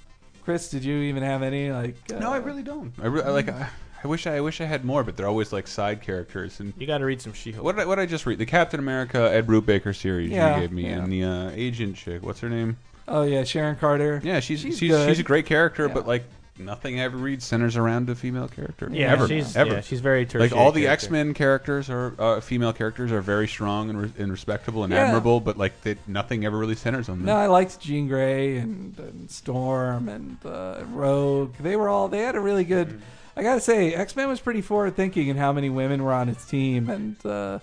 Chris, did you even have any like? uh, No, I really don't. I, re- I like. I, I wish I, I wish I had more, but they're always like side characters. And you got to read some She-Hulk. What did I, what did I just read? The Captain America Ed Brubaker series Yeah, you gave me, yeah. and the uh, agent chick. What's her name? Oh yeah, Sharon Carter. Yeah, she's she's she's, good. a great character, but like nothing I ever read centers around a female character. Yeah, ever, she's- ever. yeah, she's very like all the tertiary X Men characters are uh, female characters are very strong and, re and respectable and Yeah. admirable, but like they, nothing ever really centers on them. No, I liked Jean Grey and, and Storm and uh, Rogue. They were all. They had a really good. Mm-hmm. I gotta say, X Men was pretty forward thinking in how many women were on its team and uh,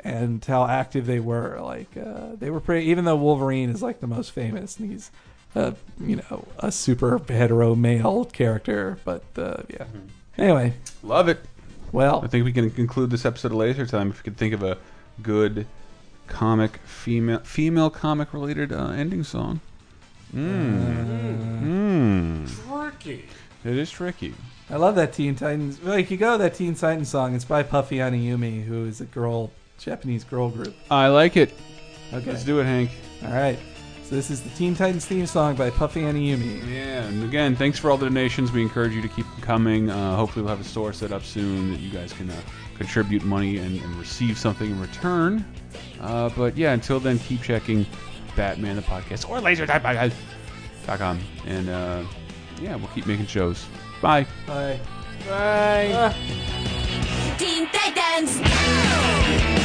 and how active they were. Like uh, they were pretty. Even though Wolverine is like the most famous and he's, uh, you know, a super hetero male character. But uh, yeah. Anyway, Love it. Well, Mm-hmm. I think we can conclude this episode of Laser Time if we could think of a good comic female female comic related uh, ending song. Mm. Mm. Tricky. It is tricky. I love that Teen Titans. Like you go that Teen Titans song. It's by Puffy Anayumi, who is a girl, Japanese girl group. I like it. Okay. Let's do it, Hank. All right. So this is the Teen Titans theme song by Puffy Anayumi. Yeah, and again, thanks for all the donations. We encourage you to keep them coming. Uh, hopefully, we'll have a store set up soon that you guys can uh, contribute money and, and receive something in return. Uh, but yeah, until then, keep checking Batman the podcast or lasertime.com. And uh, yeah, we'll keep making shows. Bye. Bye. Bye. Teen Titans Go!